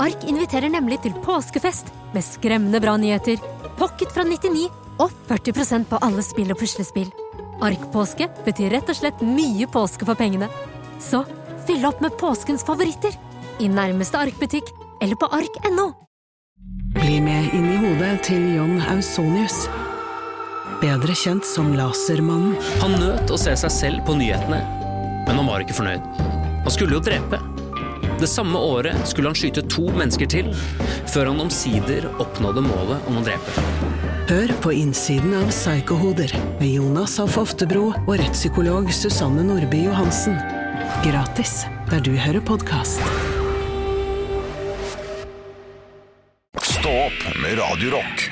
Ark inviterer nemlig til påskefest med skremmende bra nyheter, pocket fra 99 og 40 på alle spill og puslespill. Ark-påske betyr rett og slett mye påske for pengene. Så fyll opp med påskens favoritter i nærmeste Ark-butikk eller på ark.no. Bli med inn i hodet til John Ausonius. Bedre kjent som Lasermannen. Han nøt å se seg selv på nyhetene, men han var ikke fornøyd. Han skulle jo drepe. Det samme året skulle han skyte to mennesker til, før han omsider oppnådde målet om å drepe. Hør på innsiden av Psykohoder med Jonas Alf Oftebro og rettspsykolog Susanne Nordby Johansen. Gratis der du hører podkast. Stå opp med Radio Rock.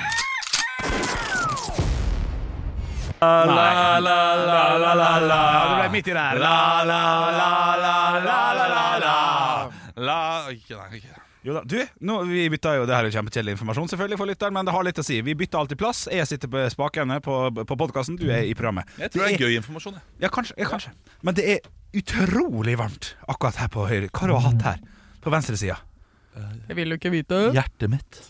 Ja, du ble midt i det her. La, la, la, la, la, la, la, la. La ikke, nei, ikke. Jo da, du, nå, vi bytta jo, Det her er jo kjempekjedelig informasjon selvfølgelig for lytteren, men det har litt å si. Vi bytter alltid plass. Jeg sitter på spakene på, på podkasten, du er i programmet. Jeg tror det er gøy informasjon. Ja, kanskje, ja, kanskje. Men det er utrolig varmt akkurat her på høyre. Hva har du hatt her? På venstresida. Jeg vil jo ikke vite. Hjertet mitt.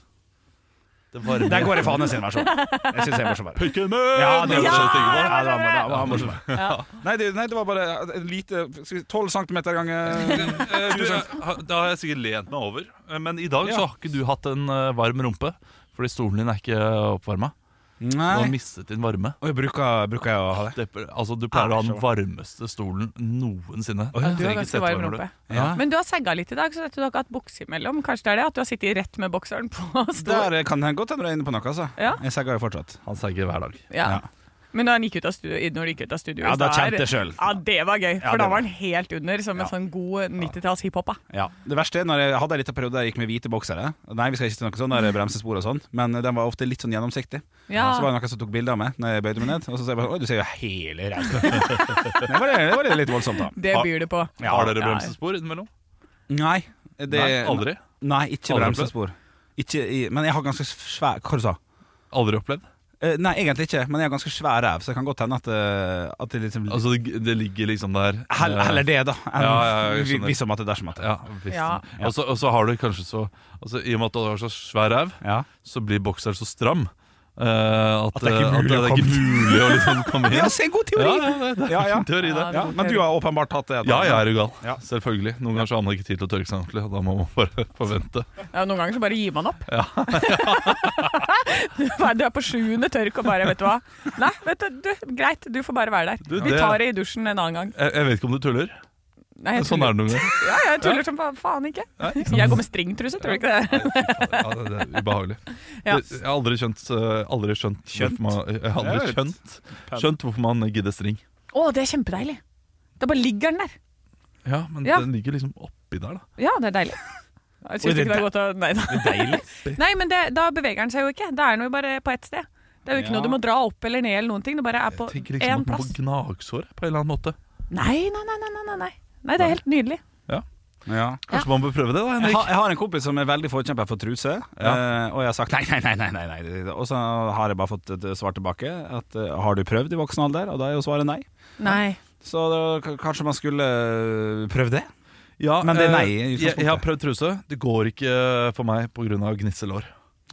Der går jeg faen i sin versjon. Jeg syns jeg er morsommere. Ja, det var morsomt. Ja, det var, det var, det var morsomt. Nei, det, nei, det var bare en lite skal vi si, 12 cm ganger Da har jeg sikkert lent meg over. Eh, Men i dag Ja. så har ikke du hatt en eh, varm rumpe. Fordi stolen din er ikke oppvarma. Du har Nei. mistet din varme. Og jeg bruker, bruker jeg å ha det. Det, altså, du pleier å ha den Æsj, varmeste stolen noensinne. Å, ja. Du har ganske varm rumpe. Ja. Men du har segga litt i dag, så vet du har ikke hatt bukse imellom. Kanskje det er det at du har sittet rett med bokseren på Der kan det godt hende du er inne på noe. Altså. Ja. Jeg segger jo fortsatt. Han segger hver dag. Ja. Men da han gikk ut av studio, når han gikk ut av studio Ja, da så er- kjente jeg selv. Ja, det var gøy, Ja, det for da var- var han helt under, som en Ja. sånn god 90-talls hiphop. da. Ja. Det verste er når jeg hadde en liten periode der jeg gikk med hvite boksere. Nei, vi skal ikke til noe sånn der bremsespor og sånn, men den var ofte litt sånn gjennomsiktig. Ja. Så var det noen som tok bilder av meg når jeg bøyde meg ned, og så sa jeg bare Oi, du ser jo hele ræva ut. Det var det- det var litt voldsomt, da. Det byr det på. Ja. Har dere bremsespor innimellom? Nei, det, Nei, aldri? Nei, ikke Aldri bremsespor. Ikke i, men jeg har ganske svær Hva du sa du? Aldri opplevd? nei, egentlig ikke, men jeg har ganske svær ræv, så det kan godt hende at, eh, at det liksom Altså, det, det ligger liksom der Hell- eh, Heller det, da. Enn Ja, ja, jeg vi- skjønner. hvis om at det er dersom at det. Ja, visst. Ja. Og så- Og så har du kanskje så altså, I og med at du har så svær ræv, Ja. så blir bokseren så stram eh, at, det er ikke eh, mulig at det å er ikke mulig å liksom komme inn. Ja, se, god teori! Ja, ja, det Ja, er ja. en teori det. Ja, men du har åpenbart hatt det. Ja, jeg er jo gal. Ja. Selvfølgelig. Noen ganger så har man ikke tid til å tørke seg ordentlig, og da må man bare forvente. Ja, noen ganger så bare gir man opp. Du bare- du er på sjuende tørk og bare, vet du hva. Nei, vet du, du greit, du får bare være der. Du, Vi det- tar det i dusjen en annen gang. Jeg, jeg vet ikke om du tuller. Nei, jeg Sånn er det noen ganger. Ja, jeg tuller som fa- faen ikke. Nei, Jeg går med stringtruse, tror du ikke det? Ja, det det er ubehagelig. Ja. Det, jeg har aldri skjønt eh, Aldri skjønt Skjønt? hvorfor man, jeg har aldri Det er litt skjønt, skjønt hvorfor man gidder string. Å, det er kjempedeilig. Da bare ligger den der. Ja, men Ja. den ligger liksom oppi der, da. Ja, det er deilig. Jeg synes Oi, det er ikke det er godt å Nei, da. Nei men det, da beveger den seg jo ikke. Da er den jo bare på ett sted. Det er jo ikke Ja. noe du må dra opp eller ned eller noen ting. Det bare er på Jeg tenker én liksom at man plass. får gnagsår på en eller annen måte. Nei, nei, nei, nei, nei, nei, nei. Nei, det er helt nydelig. Ja. Kanskje man bør prøve det, da, Jeg, Henrik? har, jeg har en kompis som er veldig forkjemper for truse, eh, og jeg har sagt nei, nei, nei. nei, nei, nei. Og så har jeg bare fått et svar tilbake at eh, har du prøvd i voksen alder? Og da er jo svaret nei. Nei. Så da, k- kanskje man skulle prøve det? Ja, Men det er eh, nei i jeg, jeg har utgangspunktet. prøvd truse. Det går ikke eh, for meg pga. gnisselår.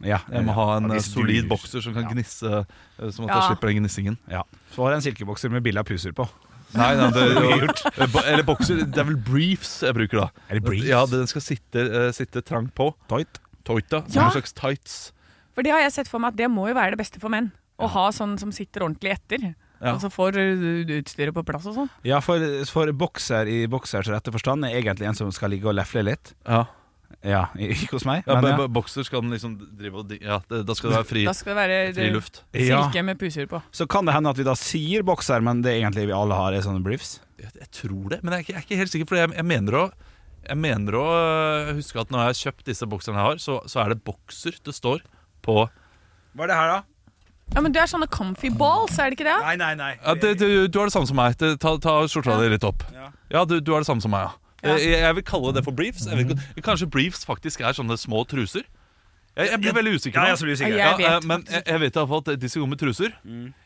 Ja, Jeg må ha en eh, Hvis du- solid bokser som kan gnisse, eh, sånn at jeg Ja. slipper den gnissingen. Ja. Så har jeg en silkebokser med billig av puser på. Nei, nei det, Gjort. og, bo- eller bokser. Det er vel briefs jeg bruker, da. Er det briefs? Ja, Den skal sitte, eh, sitte trangt på. Tight. Toita. Ja. Ja. En slags tights. For det har jeg sett for meg at det må jo være det beste for menn. Å ha sånn som sitter ordentlig etter. Ja. Og så får uh, utstyret på plass og sånn. Ja, for, for bokser i boksers rette forstand er egentlig en som skal ligge og lefle litt. Ja. Ja, i- ikke hos meg. Ja, men men, eh, ja. Bokser skal den liksom drive og di- Ja, det, da skal det være fri, Da skal det være fri luft. Ja. silke med puser på. Så kan det hende at vi da sier bokser, men det egentlig vi alle har, er sånne briefs. Jeg, jeg tror det, men jeg er ikke, jeg er ikke helt sikker, for jeg, jeg mener å jeg mener å øh, huske at når jeg har kjøpt disse bokserne jeg har, så, så er det bokser det står på Hva er det her, da? Ja, men du er sånne comfy balls, er det ikke det? Nei, nei, nei. ja, det, du, du har det samme som meg. Det- Ta, ta skjorta di litt opp. Ja. Ja, du, du har det samme som meg, ja. Ja. Jeg, jeg vil kalle det for briefs. Jeg vet Mhm. ikke, kanskje briefs faktisk er sånne små truser? Jeg, jeg blir veldig usikker. Ja, nå. jeg også blir usikker. Mm. Ja, jeg vet eh, men jeg, jeg vet iallfall at de som går med truser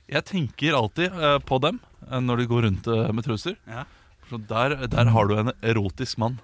Jeg tenker alltid eh, på dem eh, når de går rundt eh, med truser. Ja. For der, der har du en erotisk mann.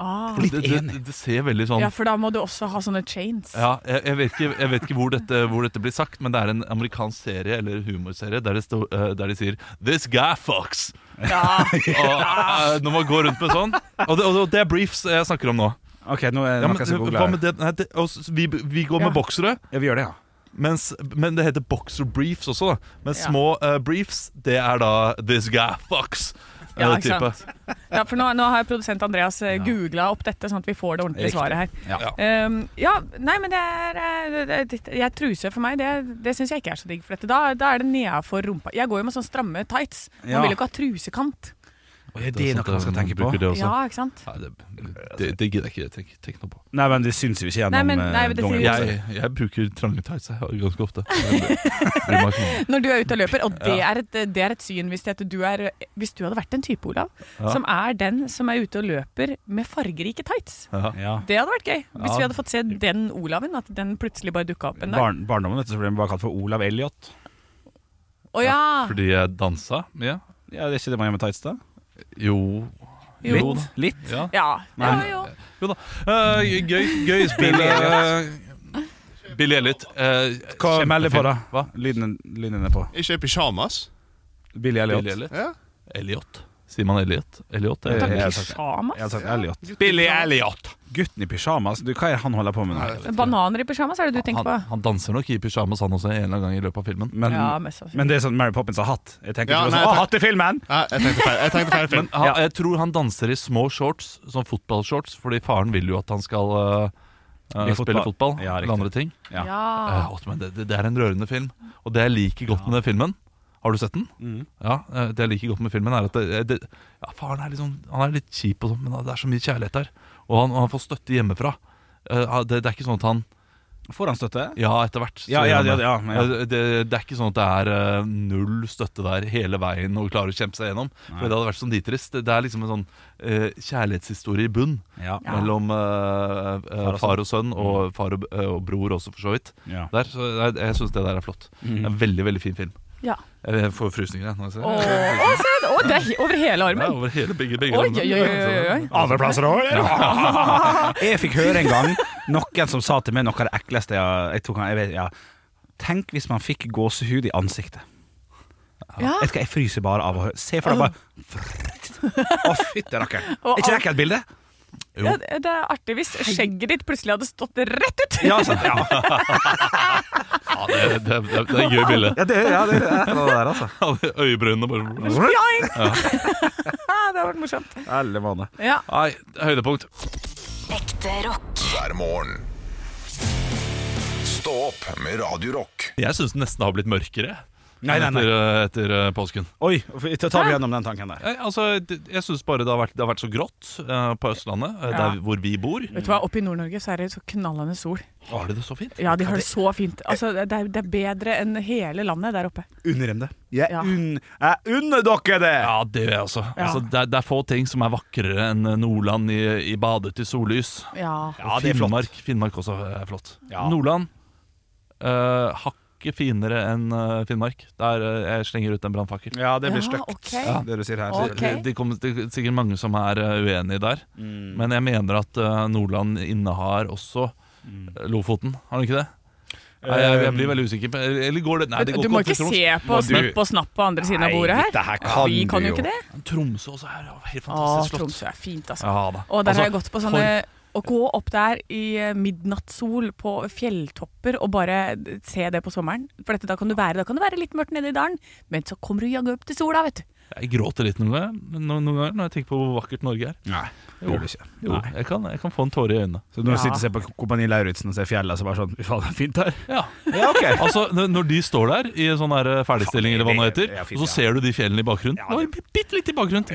Ah. Litt det, det, det ser veldig sånn Ja, for da må du også ha sånne chains. Ja, jeg, jeg vet ikke, jeg vet ikke hvor, dette, hvor dette blir sagt, men det er en amerikansk serie eller humorserie der, det står- eh, der de sier 'This guy fucks'. Og, eh, når man går rundt med sånn. Og det, og det- og det er briefs jeg snakker om nå. Ok, nå er det Ja, men, noe jeg skal google. hva her. med det, nei, det, og s- vi, vi går med Ja. boksere, Ja, vi gjør det, ja. mens, men det heter boxer briefs også. da Men Ja. små eh, briefs, det er da 'This guy fucks'. eh, Ja, ikke type. sant? Ja, for nå, nå har produsent Andreas eh, googla opp dette, sånn at vi får det ordentlige Riktig. svaret her. Ja. Um, ja, nei, men det er eh, det- det- jeg, Truse for meg, det, det syns jeg ikke er så digg. For dette. Da, da er det nedafor rumpa. Jeg går jo med sånne stramme tights. Man Ja. vil jo ikke ha trusekant. det, er noe man skal tenke på. bruker Det, også. Ja, ikke sant? Nei, det, det, det gidder jeg ikke tenke, tenke noe på. Nei, men det syns vi ikke gjennom Nei, men- eh, nei, men det dongen. sier vi Jeg, jeg bruker trange tights jeg, ganske ofte. Jeg bryr meg ikke om det. Når du er ute og løper, og det er et, det er et syn hvis, det, du er, hvis du hadde vært en type, Olav, Ja. som er den som er ute og løper med fargerike tights. Ja. Det hadde vært gøy. Hvis Ja. vi hadde fått se den Olaven, at den plutselig bare dukka opp en dag. Barn, barndommen vet du, så ble den bare kalt for Olav Elliot. Å ja! Fordi jeg dansa mye. Ja, det er ikke det man gjør med tights, da? Jo Jo. da. Litt? Ja. Ja. ja, Nei. jo. Eh, gøy, gøy spill. eh, Billy Elliot. eh, Hva kjempefin. melder på, da? Hva? Lyden, lyden er på. Ikke pysjamas. Billy Elliot. Billy Elliot? Ja. Elliot. Sier man Elliot? Elliot? Eh, eller- jeg har sagt- jeg Pysjamas? har sagt Sånn, Elliot. Billy Elliot! Gutten i pysjamas? Du, hva er det han holder på med nå? Bananer i pysjamas er det du Han, tenker på? han danser nok i pysjamas han også en eller annen gang i løpet av filmen. Men, Ja, mest sannsynlig. men det er sånn Mary Poppins har hatt. Jeg tenker Ja, ikke nei, på sånn, jeg Å, tenk- hatt i filmen! Nei, jeg tenkte feil. Jeg tenkte feil film. Men han, jeg tror han danser i små shorts, sånn fotballshorts, fordi faren vil jo at han skal eh, eh, Bli spille fotball. fotball Ja, eller riktig. andre ting. Ja. Ja. Eh, åh, men det, det, det er en rørende film. Og det jeg liker godt med den filmen Har du sett den? Mm. Ja, eh, Det jeg liker godt med filmen, er at det, eh, det, ja, faren er litt, sånn, han er litt kjip, og sånn, men det er så mye kjærlighet der. Og han, og han får støtte hjemmefra. Eh, ha- det, det er ikke sånn at han Får han støtte? Ja, etter hvert. så Ja, gjør ja, han ja, det. ja, men ja. Eh, Det, det er ikke sånn at det er eh, null støtte der hele veien og klarer å kjempe seg gjennom. For Det hadde vært sånn nitrist. Det er liksom en sånn eh, kjærlighetshistorie i bunn Ja. mellom eh, eh, Far og far og sønn, sønn. Mm. og far og, eh, og bror også, for så vidt. Ja. Mhm. Der, så jeg, jeg syns det der er flott. Det er En veldig veldig fin film. ja. Jeg jeg får frysninger jeg, når jeg ser Å, den. å, se! Å, det er he- over hele Ja, armen! over hele begge, begge Oi, landene. oi, oi, oi, oi. Andreplasser òg, jeg fikk høre en gang noen som sa til meg noe av det ekleste jeg, jeg tok han, jeg vet, ja. Tenk hvis man fikk gåsehud i ansiktet. Ja. Vet du hva, jeg fryser bare av å høre. Se for deg bare Å, fytti rakkeren. Og Er ikke det ikke et bilde? Ja, det det er artig hvis skjegget ditt plutselig hadde stått rett ut! Ja, altså. sant, ja. Ja, det, det, det, det er et gøy bilde. ja, det, ja, det, det er noe der, altså. Øyebrynene bare Fjoing! det har vært morsomt. Alle måneder. Ja. Nei, høydepunkt. hver morgen. Stå opp med Radio Rock. Jeg syns den nesten har blitt mørkere Nei, nei, nei. etter, eh, etter eh, påsken. Oi, ta tar vi gjennom den tanken der. Jeg, altså, det- jeg syns bare det har, vært, det har vært så grått eh, på Østlandet, eh, Ja. der hvor vi bor. Vet du hva, Oppe i Nord-Norge så er det så knallende sol. Har de det så fint? Ja, de har det så fint. Altså, det, er, det er bedre enn hele landet der oppe. Unner dem det. Jeg, Ja. unn, jeg unner dere det! Ja, det gjør jeg også. Ja. Altså, det, er, det er få ting som er vakrere enn eh, Nordland i, i badet i sollys. Ja. Ja, det er flott. Finnmark, Finnmark også er flott. Ja. Nordland eh, hakket finere enn eh, Finnmark. Der eh, jeg slenger ut en brannfakkel. Ja, det blir Ja, stygt, ok. det du sier her. Ok. Mm. sikkert. Eh, Det, det kommer det er sikkert mange som er eh, uenige der, Mm. men jeg mener at eh, Nordland innehar også eh, Lofoten, har det ikke det? Nei, jeg, jeg blir veldig usikker. på- Eller går det Nei, det går du må ikke Troms. se på Må du- Snapp og Snapp på andre siden av Nei, bordet her. dette her kan Vi du kan jo jo. ikke det. Tromsø også er helt fantastisk slott. Tromsø er fint, altså. Ja da. Og der Altså, har jeg gått på sånne Å gå opp der i eh, midnattssol på fjelltopper og bare se det på sommeren. For dette, da, kan du være, da kan det være litt mørkt nede i dalen, men så kommer du jaggu opp til sola, vet du. Jeg gråter litt noen ganger, noen noen ganger når jeg tenker på hvor vakkert Norge er. Nei, det jo. gjør du ikke. Jo, Nei. jeg kan, jeg kan få en tåre i øynene. Så når du sitter og ser på Kompani Lauritzen og ser fjellet, så bare sånn Fy faen, det er fint her. Ja, altså, n- Når de står der i en sånn her ferdigstilling, eller hva det heter, og så ser du de fjellene i bakgrunnen Bitte litt i bakgrunnen.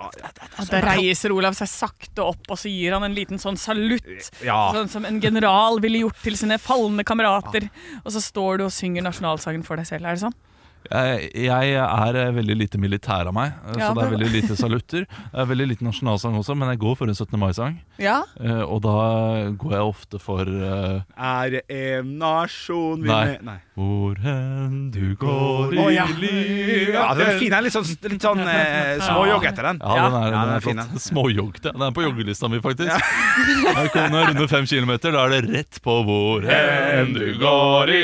Og da reiser Olav seg sakte opp, og så gir han en liten sånn salutt. Ja. Sånn som en general ville gjort til sine falne kamerater. Og så står du og synger nasjonalsangen for deg selv, er det sånn? Jeg, jeg er eh, veldig lite militær av meg, eh, Ja, så det er det- veldig lite salutter. Det er veldig lite nasjonalsang også, men jeg går for en 17. mai-sang. Ja. Eh, Og da går jeg ofte for eh, Er en nasjon vi Nei. med- Nei. Hvor hen du går Å, i ja. livet Ja, den er fin. Den er litt sånn, litt sånn eh, småjogg etter den. Ja, den er, Ja, den er fin, flott. Småjoggete. Den er på joggelista mi, faktisk. Når jeg runder fem kilometer, da er det rett på hvor hen du går i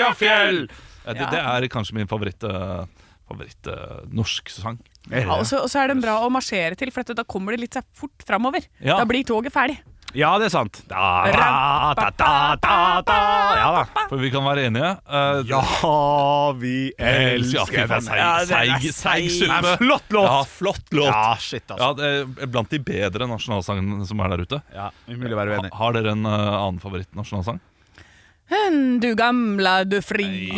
Liafjell. Ja, det, det er kanskje min favoritt, eh, favoritt eh, norsk sang. Ja, og, så, og så er den bra å marsjere til, for dette, da kommer det litt seg fort framover. Ja. Ah. Da blir toget ferdig. Ja, det er sant. Da, da, da, da, da, da. Ja da. For vi kan være enige. Eh, ja, vi elsker den. Ja, den er Seig, seig seig. suppe. Nei, flott låt. Ja, flott låt. Ja, shit, altså. Ja, det er blant de bedre nasjonalsangene som er der ute. Ja, umulig å være uenig. Ha, har dere en eh, annen favorittnasjonalsang? Hen, Du gamla, du fria Nei, jo,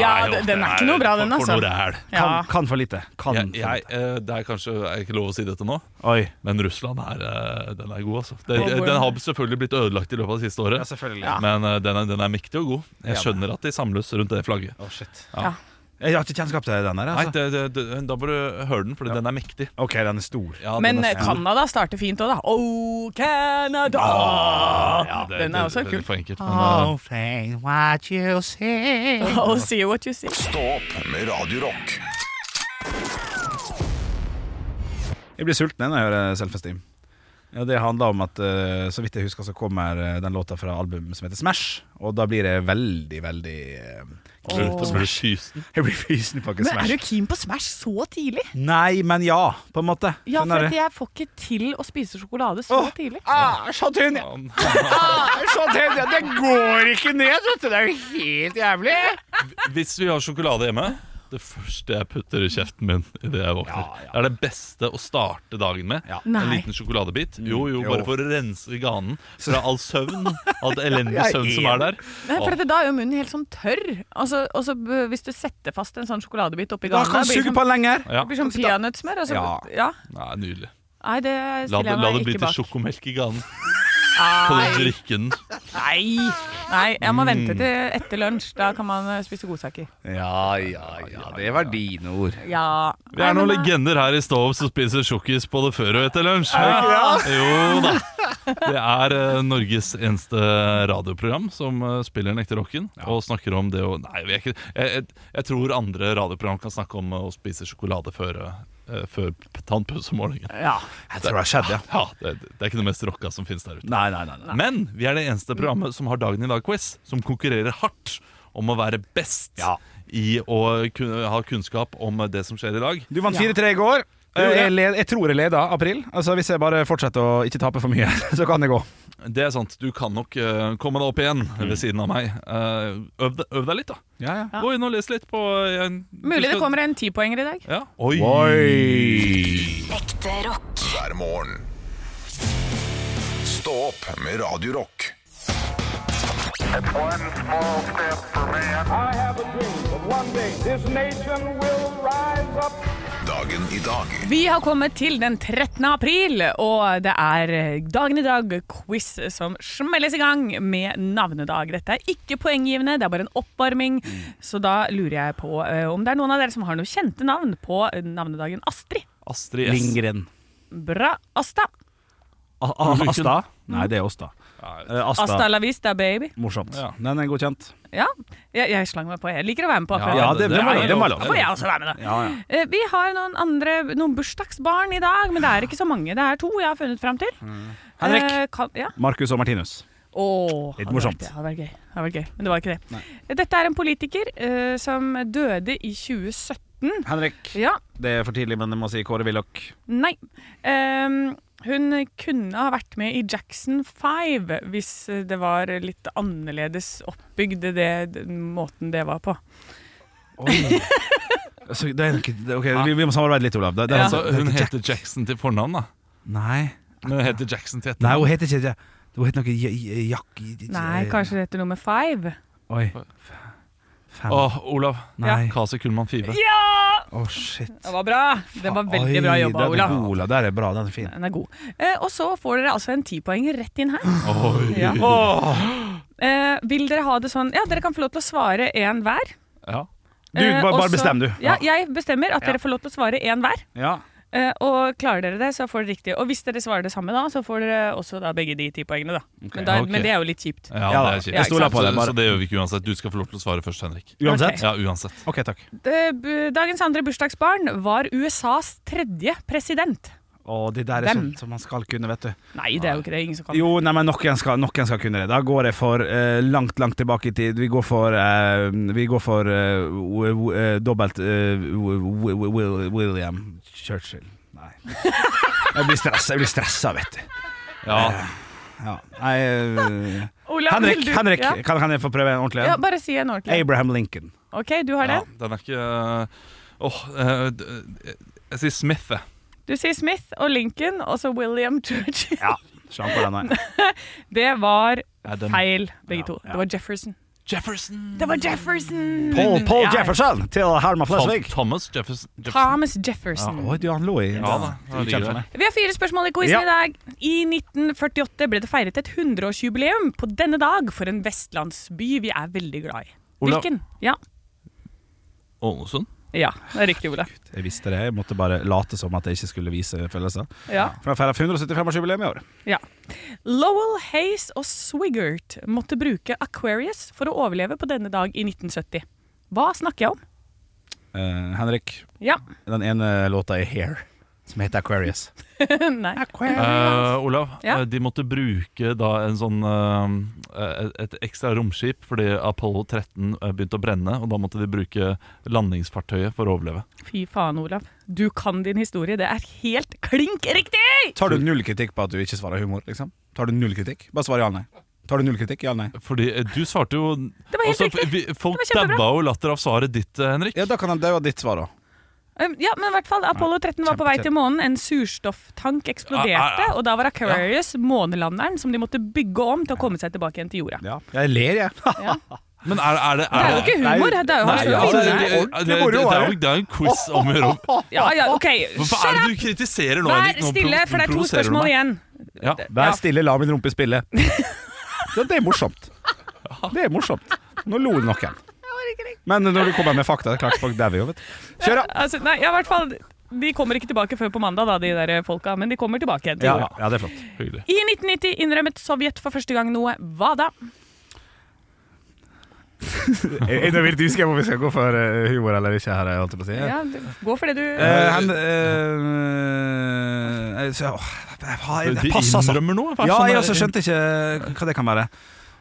Den det er ikke noe bra, den, for- for noe altså. ræl. Ja. Kan, kan for lite. Kan Jeg, jeg, eh, det er kanskje er ikke lov å si dette nå, men Russland er, eh, den er god. Altså. Den, Og hvor- den har selvfølgelig blitt ødelagt i løpet av det siste året, Ja, selvfølgelig. Ja. men eh, den, er, den er mektig og god. Jeg Ja. Altså. skjønner at de samles rundt det flagget. Å, shit. Ja. Jeg har ikke kjennskap til den der. Nei, Altså. det, det, det, Da må du høre den, for den er mektig. Ok, den er stor. Ja, Men den er eh, stor. Canada starter fint òg, da. Oh, Canada! det- den Ah, det- er også det er kul. for enkelt, men, oh, eh, say what you see. Oh, see what you see. Stå opp med Radio Rock. Jeg blir sulten når jeg hører Self-Esteem. Ja, det handler om at eh, så vidt jeg husker, så kommer eh, den låta fra albumet som heter Smash. Og da blir jeg veldig, veldig eh, keen Åh. på Smash. Jeg blir fysen på ikke Men er du Smash. keen på Smash så tidlig? Nei, men ja, på en måte. Ja, Skjønner for du? at jeg får ikke til å spise sjokolade så tidlig. Ah, så tynn! Ah, så tynn! Det går ikke ned, vet du. Det er jo helt jævlig. Hvis vi har sjokolade hjemme det første jeg putter i kjeften min idet jeg våkner, Det er det beste å starte dagen med. En Nei. liten sjokoladebit. Mm. Jo, jo, jo. bare for å rense ganen fra all søvn. All elendig Jeg er søvn som er der. Nei, for at da er jo munnen helt sånn tørr. Altså, og så b- Hvis du setter fast en sånn sjokoladebit oppi Da ganen kan du blir det suge sånn- på den lenger. Ja. Det blir sånn peanøttsmør. Altså, Ja. ja. Nei, nydelig. Nei, det La stiller det, jeg la meg det bli ikke til bak. sjokomelk i ganen. Kan du Nei. drikke den? Nei. Nei, jeg må vente Mm. til etter lunsj. Da kan man eh, spise godsaker. Ja, ja, ja. Det var dine ord. Ja. Vi er noen Nei, men, eh, legender her i Stov som spiser sjokkis både før og etter lunsj. Er det ikke det? Jo da. Det er eh, Norges eneste radioprogram som eh, spiller den ekte rocken og snakker om det å Nei, vi er ikke jeg, jeg, jeg tror andre radioprogram kan snakke om eh, å spise sjokolade før, eh, før tannpussemorgenen. Ja, jeg tror det har skjedd, ja. det, det er ikke det mest rocka som finnes der ute. Nei, nei, nei, nei. Men vi er det eneste programmet som har Dagen i dag-quiz, som konkurrerer hardt om å være best i å kunne ha kunnskap om det som skjer i dag. Du vant 4-3 i går. Det gjorde Eh, jeg. Jeg, led, jeg tror jeg leder april. Altså Hvis jeg bare fortsetter å ikke tape for mye, så kan det gå. Det er sant. Du kan nok eh, komme deg opp igjen Mm. ved siden av meg. Eh, øv, deg- øv deg litt, da. Gå inn og les litt på eh, en- mulig du det skal- kommer en tipoenger i dag. Ja. Oi. Ekte rock. Hver morgen. Stå opp med Radio Rock. Dagen i dag. Vi har kommet til den 13. april, og det er Dagen i dag-quiz som smelles i gang med navnedag. Dette er ikke poenggivende, det er bare en oppvarming. Så da lurer jeg på eh, om det er noen av dere som har noen kjente navn på eh, navnedagen Astrid. Astrid S. Lindgren. Bra. Asta. A A Asta? Nei, det er Åsta. Eh, Asta. Asta. la vista, baby. Morsomt. Den er godkjent. Ja, jeg, jeg slang meg på. Jeg liker å være med på akkurat Ja, det, det, var lov, det var lov. Da får jeg også være med, da. Ja, ja. Eh, Vi har noen andre Noen bursdagsbarn i dag, men det er ikke så mange. Det er to jeg har funnet fram til. Mm. Henrik. Eh, Kan, ja. Markus og Martinus. Åh, Litt hadde morsomt. vært Det hadde vært gøy. Hadde vært gøy. Men det var ikke det. Dette er en politiker eh, som døde i 2017. Henrik, Ja, det er for tidlig, men jeg må si Kåre Willoch. nei. Ehm, hun kunne ha vært med i Jackson 5 hvis det var litt annerledes oppbygd, det, den måten det var på. Så Altså, det er nok, det- ok, vi, vi må samarbeide litt, Olav. Det, det er Ja. altså- Altså, hun det er ikke heter Jackson til fornavn, da. Nei. Men hun heter Jackson til Jack- Nei, hun etternavn. heter ikke det. Hun heter noe J- J- Jack Nei, kanskje det heter nummer five? Oi. Åh, Olav. Nei. Kasi Kullmann Five. Ja! Å, shit. Det var bra. Det var veldig Ah, Oi, bra jobba, Den er Olav. god, Olav. Der er bra, den er fin. Den er god. Eh, og så får dere altså en tipoeng rett inn her. Oi. Ja. Åh. Eh, vil dere ha det sånn Ja, dere kan få lov til å svare én hver. Du, Eh, bare, og bare så- bestem, du. Ja, jeg bestemmer at dere får lov til å svare én hver. Ja. Eh, og klarer dere det, så får dere riktig. Og hvis dere svarer det samme, da, så får dere også da begge de ti poengene, da. Men, da Ok. men det er jo litt kjipt. Ja, Ja, det er da. kjipt. Jeg stoler på Så- deg bare. Så det gjør vi ikke uansett. Du skal få lov til å svare først, Henrik. Uansett? Ja, uansett. Ok, takk. Eh, bu- Dagens andre bursdagsbarn var USAs tredje president. Å, det der er Dem. sånt som man skal kunne, vet du. Nei, det er jo ikke det. Ingen som kan Jo, nei, men noen skal, noen skal kunne det. Da går jeg for eh, langt, langt tilbake i tid. Vi går for, eh, vi går for eh, w- w- eh, dobbelt eh, w- w- Will- William Churchill. Nei. Jeg blir stressa, jeg blir stressa, vet du. Eh, ja. Nei eh, Olav, Henrik, vil du- Henrik ja. kan, kan jeg få prøve en ordentlig en? Ja, bare si en ordentlig. Abraham Lincoln. OK, du har Ja, den. den er ikke øh, Åh, øh, d- øh, jeg sier Smith, jeg. Du sier Smith og Lincoln, og så William Churchill. Slam på den her. Det var Adam. feil, begge to. Det var Jefferson. Jefferson! Det var Jefferson! Paul, Paul Ja. Jefferson til Herman Flesvig. Thomas Jefferson. Thomas Jefferson. Ja, oi, du, han lå i Ja da, han ligger Kjent der. for meg. Vi har fire spørsmål i quizen Ja. i dag. I 1948 ble det feiret et 100-årsjubileum på denne dag for en vestlandsby vi er veldig glad i. Olav. Hvilken? Ja, Ålesund? ja det er riktig, Ola. Jeg visste det, jeg måtte bare late som at jeg ikke skulle vise følelser. Ja. For han feirer 175-årsjubileum i år. Ja. Lowell, Hayes og Swigert måtte bruke Aquarius for å overleve på denne dag i 1970. Hva snakker jeg om? Eh, Henrik, Ja. den ene låta er Hair, som heter Aquarius. Nei. Eh, Olav, Ja. eh, de måtte bruke da en sånn eh, et ekstra romskip fordi Apollo 13 begynte å brenne, og da måtte de bruke landingsfartøyet for å overleve. Fy faen, Olav. Du kan din historie. Det er helt klink riktig! Tar du null kritikk på at du ikke svarer humor? liksom? Tar du null kritikk? Bare svar ja eller nei. Tar du null kritikk? Ja eller nei? Fordi eh, du svarte jo var helt Altså, riktig. vi, Folk Det var kjempebra. dabba jo latter av svaret ditt, eh, Henrik. Ja, Da kan han daue ditt svar òg. Um, Ja, men i hvert fall Apollo 13 var på vei kjempekjedelig. til månen. En surstofftank Ah, eksploderte, ah, ah. og da var Aquarius månelanderen som de måtte bygge om til å komme seg tilbake igjen til jorda. Ja. Jeg ler, jeg. Men er, er det Det er jo ikke humor, det er jo Nei, hans ja, altså, det, ordentlig. det, det, det, det, det, er jo- det er jo en quiz om å gjøre om. Ja, ja, OK. Hvorfor Shut er det up! du kritiserer nå, Vær Henrik? Nå stille, pro- for det er provoserer to du spørsmål meg. igjen. Ja. Vær stille, la min rumpe spille. Ja, det er morsomt. Det er morsomt. Nå lo noen. Men når du kommer med fakta, det er klart folk dauer jo, vet du. Kjør, da! Altså, nei, ja, i hvert fall De kommer ikke tilbake før på mandag, da, de der folka, men de kommer tilbake igjen til Ja, jorda. ja, det er flott. I 1990 innrømmet Sovjet for første gang noe. Hva da? Jeg jeg er litt usikker på om vi skal gå for eh, humor eller ikke her. jeg holdt på å si. Ja, du- gå for det du Eh, han eh, eh, så, åh, jeg har- De det passer, altså. innrømmer noe? Hva er Ja, sånn jeg der- også skjønte ikke hva det kan være.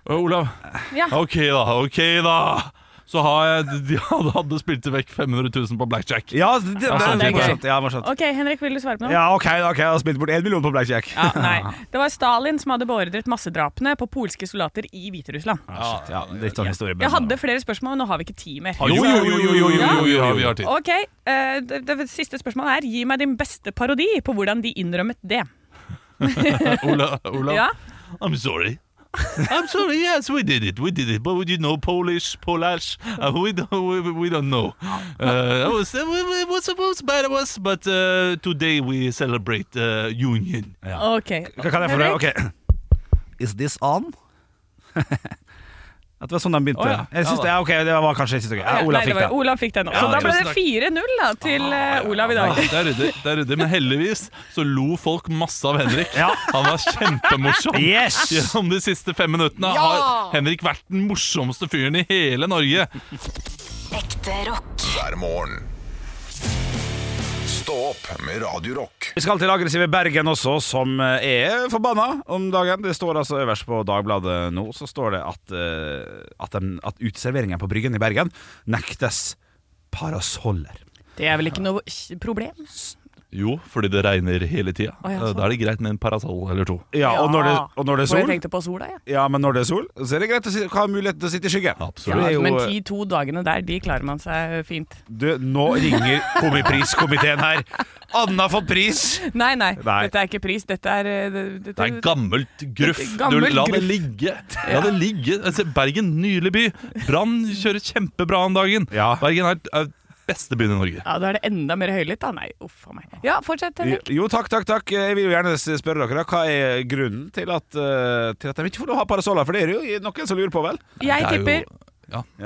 Ø, Olav. Ja. Ok, da. ok da Så har jeg De hadde, hadde spilt vekk 500 000 på blackjack. Ja, altså, det, det, Ja, sånn det type. er morsomt. Ja, morsomt. OK, Henrik, vil du svare på noe? Ja, ok, ok, jeg har spilt bort én million på blackjack. Ja, nei. Det var Stalin som hadde beordret massedrapene på polske soldater i Hviterussland. Ah, shit, ja, litt sånn historie. Jeg hadde flere spørsmål, men nå har vi ikke tid mer. Jo, jo, jo, jo, jo, jo, jo, jo, jo, vi har tid. Ok, eh, det, det siste spørsmålet er Gi meg din beste parodi på hvordan de innrømmet det. Olav, Olav. Ja. I'm sorry. I'm sorry, yes, we did it, we did it, but you know, Polish, Polish, uh, we, don't, we, we don't know. Uh, it, was, it was, it was bad, it was, but uh, today we celebrate uh, union. Ok. Hva kan jeg få det? Ok. Is this on? At det var sånn den begynte. Å, ja. Jeg synes det, ja, ok, det var kanskje ikke så gøy. Ja, Nei, Olav det fikk var- det. Olav fikk den. Ja, Så da ble tusen det takk. 4-0 da, Ah, til eh, Olav i dag. Nei, det er ryddig, det er ryddig, men heldigvis så lo folk masse av Henrik. Han var kjempemorsom Yes! gjennom de siste fem minuttene. Ja! Har Henrik vært den morsomste fyren i hele Norge? Ekte rock. hver morgen. Stå opp med Radio Rock. Vi skal til aggressive Bergen også, som eh, er forbanna om dagen. Det står altså øverst på Dagbladet nå, så står det at, eh, at, dem- at uteserveringen på Bryggen i Bergen nektes parasoller. Det er vel ikke noe kj- problem? Jo, fordi det regner hele tida. Å, ja, sånn. Eh, Da er det greit med en parasoll eller to. Ja, og når det, og når det er For jeg sol tenkte på sola, jeg. Ja, men når det er sol, så er det greit å si- ha mulighet til å sitte i skygge. Ja. Det er jo- eh, men de to dagene der, de klarer man seg fint. Du, nå ringer komipriskomiteen her. Anne har fått pris! Nei, nei, Nei. dette er ikke pris. Dette er eh, det- dette- Det er gammelt gruff. Det er Du, gammel la det gruff. ligge. La det ligge. Altså, Bergen, nylig by. Brann kjører kjempebra om dagen. Bergen er, er beste byen i Norge. Ja, Da er det enda mer høylytt, da. Nei, uff a meg. Ja, fortsett, Jo, Henrik. jo, takk, takk, takk. Jeg vil jo gjerne s- spørre dere, da. Hva er grunnen til at, eh, til at de ikke får lov å ha parasoller? For det er det jo noen som lurer på, vel? Jeg tipper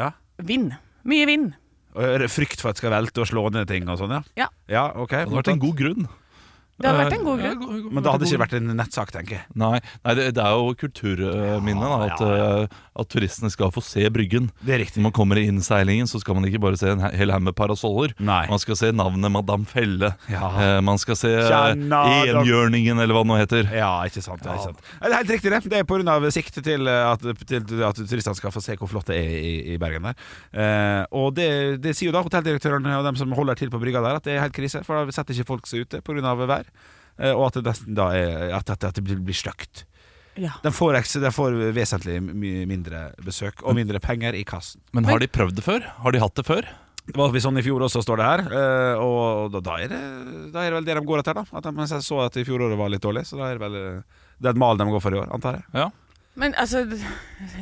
Ja. vind. Mye vind. Og er det Frykt for at det skal velte og slå ned ting og sånn, ja? Ja. ja ok. Det hadde vært en god grunn. Det hadde vært en god grunn. Men da hadde det ikke vært en nettsak, tenker jeg. Nei, nei det, det er jo kulturminne da, at, eh, at turistene skal få se Bryggen. Det er riktig Når man kommer i innseilingen, så skal man ikke bare se en he- hel haug med parasoller. Man skal se navnet Madame Felle. Eh, man skal se eh, Tjena, dere. Enhjørningen, eller hva det nå heter. Ja, ikke sant, ja, ikke sant. Nei, Det er helt riktig, det. Det er pga. sikte til eh, at, til at turistene skal få se hvor flott det er i, i Bergen. der eh, Og det, det sier jo da hotelldirektøren og dem som holder til på brygga der, at det er helt krise. For da setter ikke folk seg ute pga. vær, eh, og at det nesten da er At, at, at det blir, blir stygt. Ja. De får, eks- de får vesentlig mye mindre besøk og mindre penger i kassen. Men har de prøvd det før? Har de hatt det før? Det var sånn i fjor også, står det her. eh, Og da, da, er det, da er det vel det de går etter, da. At de jeg så at i fjoråret var litt dårlig, så da er det vel eh, det er et mal de går for i år, antar jeg. Men altså,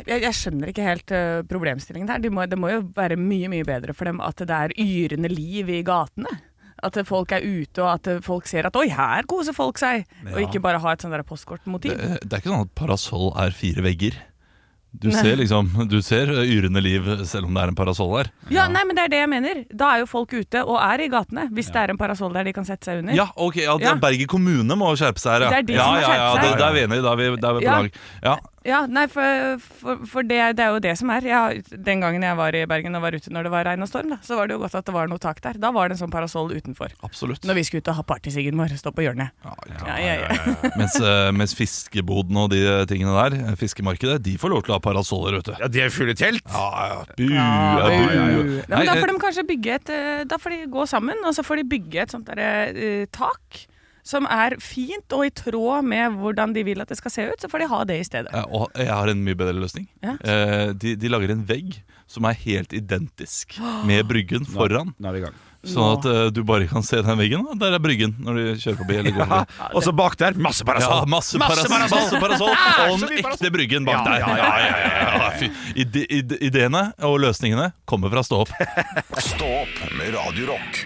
jeg, jeg skjønner ikke helt eh, problemstillingen her. De må, det må jo være mye, mye bedre for dem at det er yrende liv i gatene. At eh, folk er ute, og at eh, folk ser at 'oi, her koser folk seg', og Ja. ikke bare ha et sånt der postkortmotiv. Det, det er ikke sånn at parasoll er fire vegger. Du Nei. ser liksom, du ser yrende liv selv om det er en parasoll der. Ja, nei, men det er det jeg mener. Da er jo folk ute og er i gatene, hvis det er en parasoll der de kan sette seg under. Ja, ok, ja, Ja. Bergen kommune må skjerpe seg her, ja. Det er de ja, som ja, må ja, skjerpe det, seg. det er vi enige i, da er vi, da er vi på Ja. lag. Ja. Ja, nei, for, for, for det, det er jo det som er. Jeg, har- den gangen jeg var i Bergen og var ute når det var regn og storm, da, så var det jo godt at det var noe tak der. Da var det en sånn parasoll utenfor. Absolutt. Når vi skulle ut og ha partysiggen vår, stå på hjørnet. Ja, ja, ja. Mens, eh, mens fiskeboden og de tingene der, eh, fiskemarkedet, de får lov til å ha parasoller, vet du. Ja, de er fulle telt. Ja, ja. Bu, Ja, ja, bu. Nei, men da Nei, får eh, de kanskje bygge et eh, Da får de gå sammen, og så får de bygge et sånt derre eh, tak. Som er fint og i tråd med hvordan de vil at det skal se ut, så får de ha det i stedet. eh, og jeg har en mye bedre løsning. Ja. Eh, De, de lager en vegg som er helt identisk med bryggen foran. Nå er vi i gang. Sånn at eh, du bare kan se den veggen. Og der er bryggen når du kjører forbi. Eller går Ja, forbi. og så bak der, masse Ah, parasoll! Ja, masse parasoll, masse parasoll, og den ekte bryggen bak der. Ja, ja, ja, Fy, ide, ide, ideene og løsningene kommer fra Stå opp. Stå opp med Radio Rock.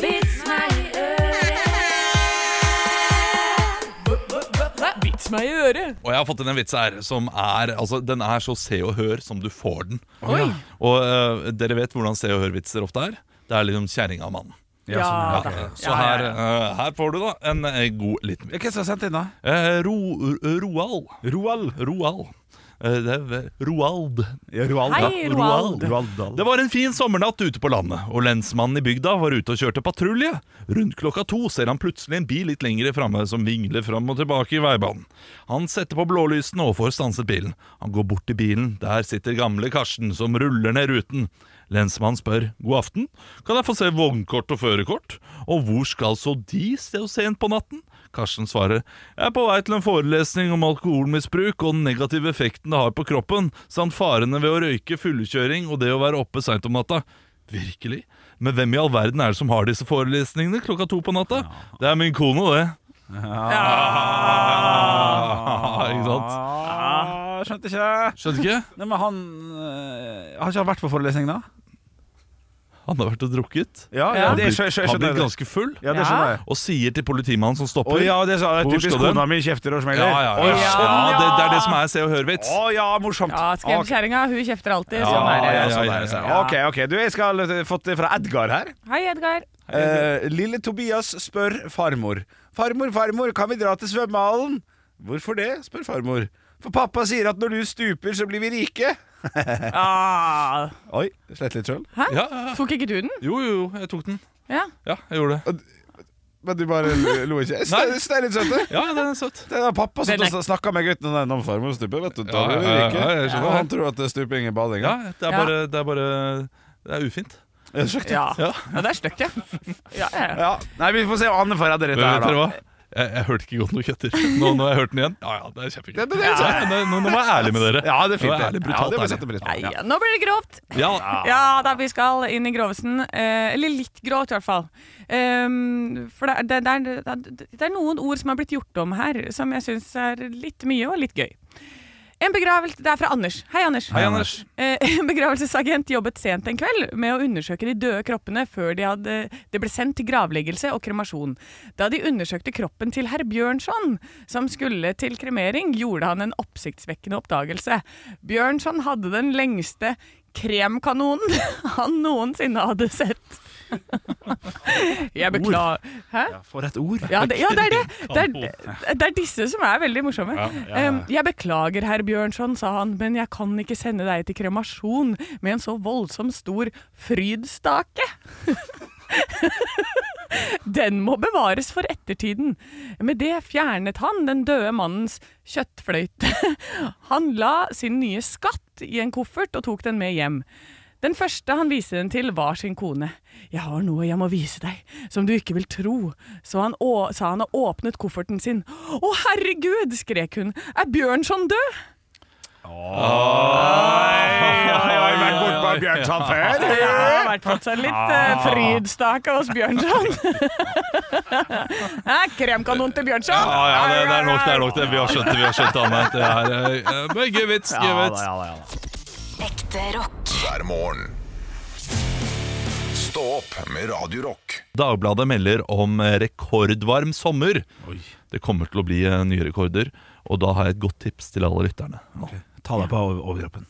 Vits meg i øret. Vits meg i øret. Og jeg har fått inn en vits her som er altså, Den er så se og hør som du får den. Oi. Og eh, dere vet hvordan se og hør-vitser ofte er. Det er liksom kjerringa og mannen. Ja, sånn, ja. Så Ja, ja, her, eh, her får du da en eh, god liten vits. Hvem som har sendt inn, da? Eh, Ro, Roal. Roal. Eh, Det er ved Roald. Hei, Ja, Roald. Det var en fin sommernatt ute på landet, og lensmannen i bygda var ute og kjørte patrulje. Rundt klokka to ser han plutselig en bil litt lengre framme som vingler fram og tilbake i veibanen. Han setter på blålysene og får stanset bilen. Han går bort til bilen, der sitter gamle Karsten som ruller ned ruten. Lensmannen spør god aften, kan jeg få se vognkort og førerkort, og hvor skal så de så sent på natten? Karsten svarer jeg er på vei til en forelesning om alkoholmisbruk og den negative effekten det har på kroppen, samt farene ved å røyke, fullkjøring og det å være oppe seint om natta. Virkelig? Men hvem i all verden er det som har disse forelesningene klokka to på natta? Det er min kone, det. Ah, ikke sant? Ah, skjønte ikke. Skjønte ikke? Nei, men han øh, Har ikke han vært på forelesning, da? Han har vært og drukket. Ja, ja, Han det blitt- skjø- skjø- Han har blitt skjønner jeg. ganske full. Ja, det skjønner jeg. Og sier til politimannen som stopper Å ja, det sa- det er "Hvor typisk skal du hen?" kona mi kjefter og Ja, smeller. ja, Å ja. ja. ja det, det er det som er Se og Hør-vits. Å ja, morsomt. Ja, Skremkjerringa, hun kjefter alltid. Sånn er det. ja, ja, sånn ja, er det. ja, ja. Ok, ok. Du, jeg skal øh, fått det fra Edgar her. Hei, Edgar. Eh, lille Tobias spør farmor. Farmor, farmor, kan vi dra til svømmehallen? Hvorfor det? spør farmor. For pappa sier at når du stuper, så blir vi rike. Ah. Oi, slett litt sjøl. Hæ? Tok ikke du den? Jo, jo, jeg tok den. Ja. Ja, jeg gjorde det. Men du bare lo ikke? Nei. Det er litt søtt, det. Ja, den er søt. Det er pappa som Den er- sn- snakker med gutten om om farmor stuper, vet du. Ja, Da blir vi ja, ja, ja, rike. jeg skjønner Og det. han tror at det er stuping i bading. Ja, det er bare Det er, bare, det er ufint. Ja, skjønt. Ja. Ja. ja, det er stygt, ja. Ja, ja. ja. Ja. Nei, vi får se om Anne får redde dette Vet her, dere da. hva? Jeg, jeg hørte ikke godt nok etter. Nå, nå har jeg hørt den igjen. Ja, ja, det er kjempegøy. Det- det- det- Ja, nå, nå må jeg være ærlig med dere. Ja, det er Nå jeg fint, det. ærlig, Ja, det brutalt må jeg ærlig. sette pris på. Ja. Nå blir det grovt. Ja. Ja da, vi skal inn i grovesen. Eh, eller litt grovt, i hvert fall. Ehm, for det, er- det, er- det, er- det er noen ord som har blitt gjort om her, som jeg syns er litt mye og litt gøy. En begravelse, Det er fra Anders. Hei, Anders. Hei, Anders. Eh, en begravelsesagent jobbet sent en kveld med å undersøke de døde kroppene før de hadde, det ble sendt til gravleggelse og kremasjon. Da de undersøkte kroppen til herr Bjørnson, som skulle til kremering, gjorde han en oppsiktsvekkende oppdagelse. Bjørnson hadde den lengste kremkanonen han noensinne hadde sett. Jeg beklager Hæ? For et ord. Ja, det, ja, det er det. Det er, det er disse som er veldig morsomme. Ja, ja, ja. Um, jeg beklager, herr Bjørnson, sa han, men jeg kan ikke sende deg til kremasjon med en så voldsomt stor frydstake. Den må bevares for ettertiden. Med det fjernet han den døde mannens kjøttfløyte. Han la sin nye skatt i en koffert og tok den med hjem. Den første han viste den til, var sin kone. 'Jeg har noe jeg må vise deg, som du ikke vil tro', så han å, sa han og åpnet kofferten sin. 'Å, herregud', skrek hun, 'er Bjørnson død?' Har jeg vært bortpå Bjørnson før? Ja, det har vært fått seg litt Ah. uh, frydstake hos Bjørnson. Hæ, Kremkanon til Bjørnson? Ja, ja, det, det er nok, det er nok det. Vi har skjønt det, vi har skjønt det, Anne. Det er eh, eh, men gøy vits, gøy vits. Ekte rock. Hver morgen. Stå opp med Radio Rock. Dagbladet melder om eh, rekordvarm sommer. Det kommer til å bli eh, nye rekorder, og da har jeg et godt tips til alle lytterne. Ta deg på overkroppen.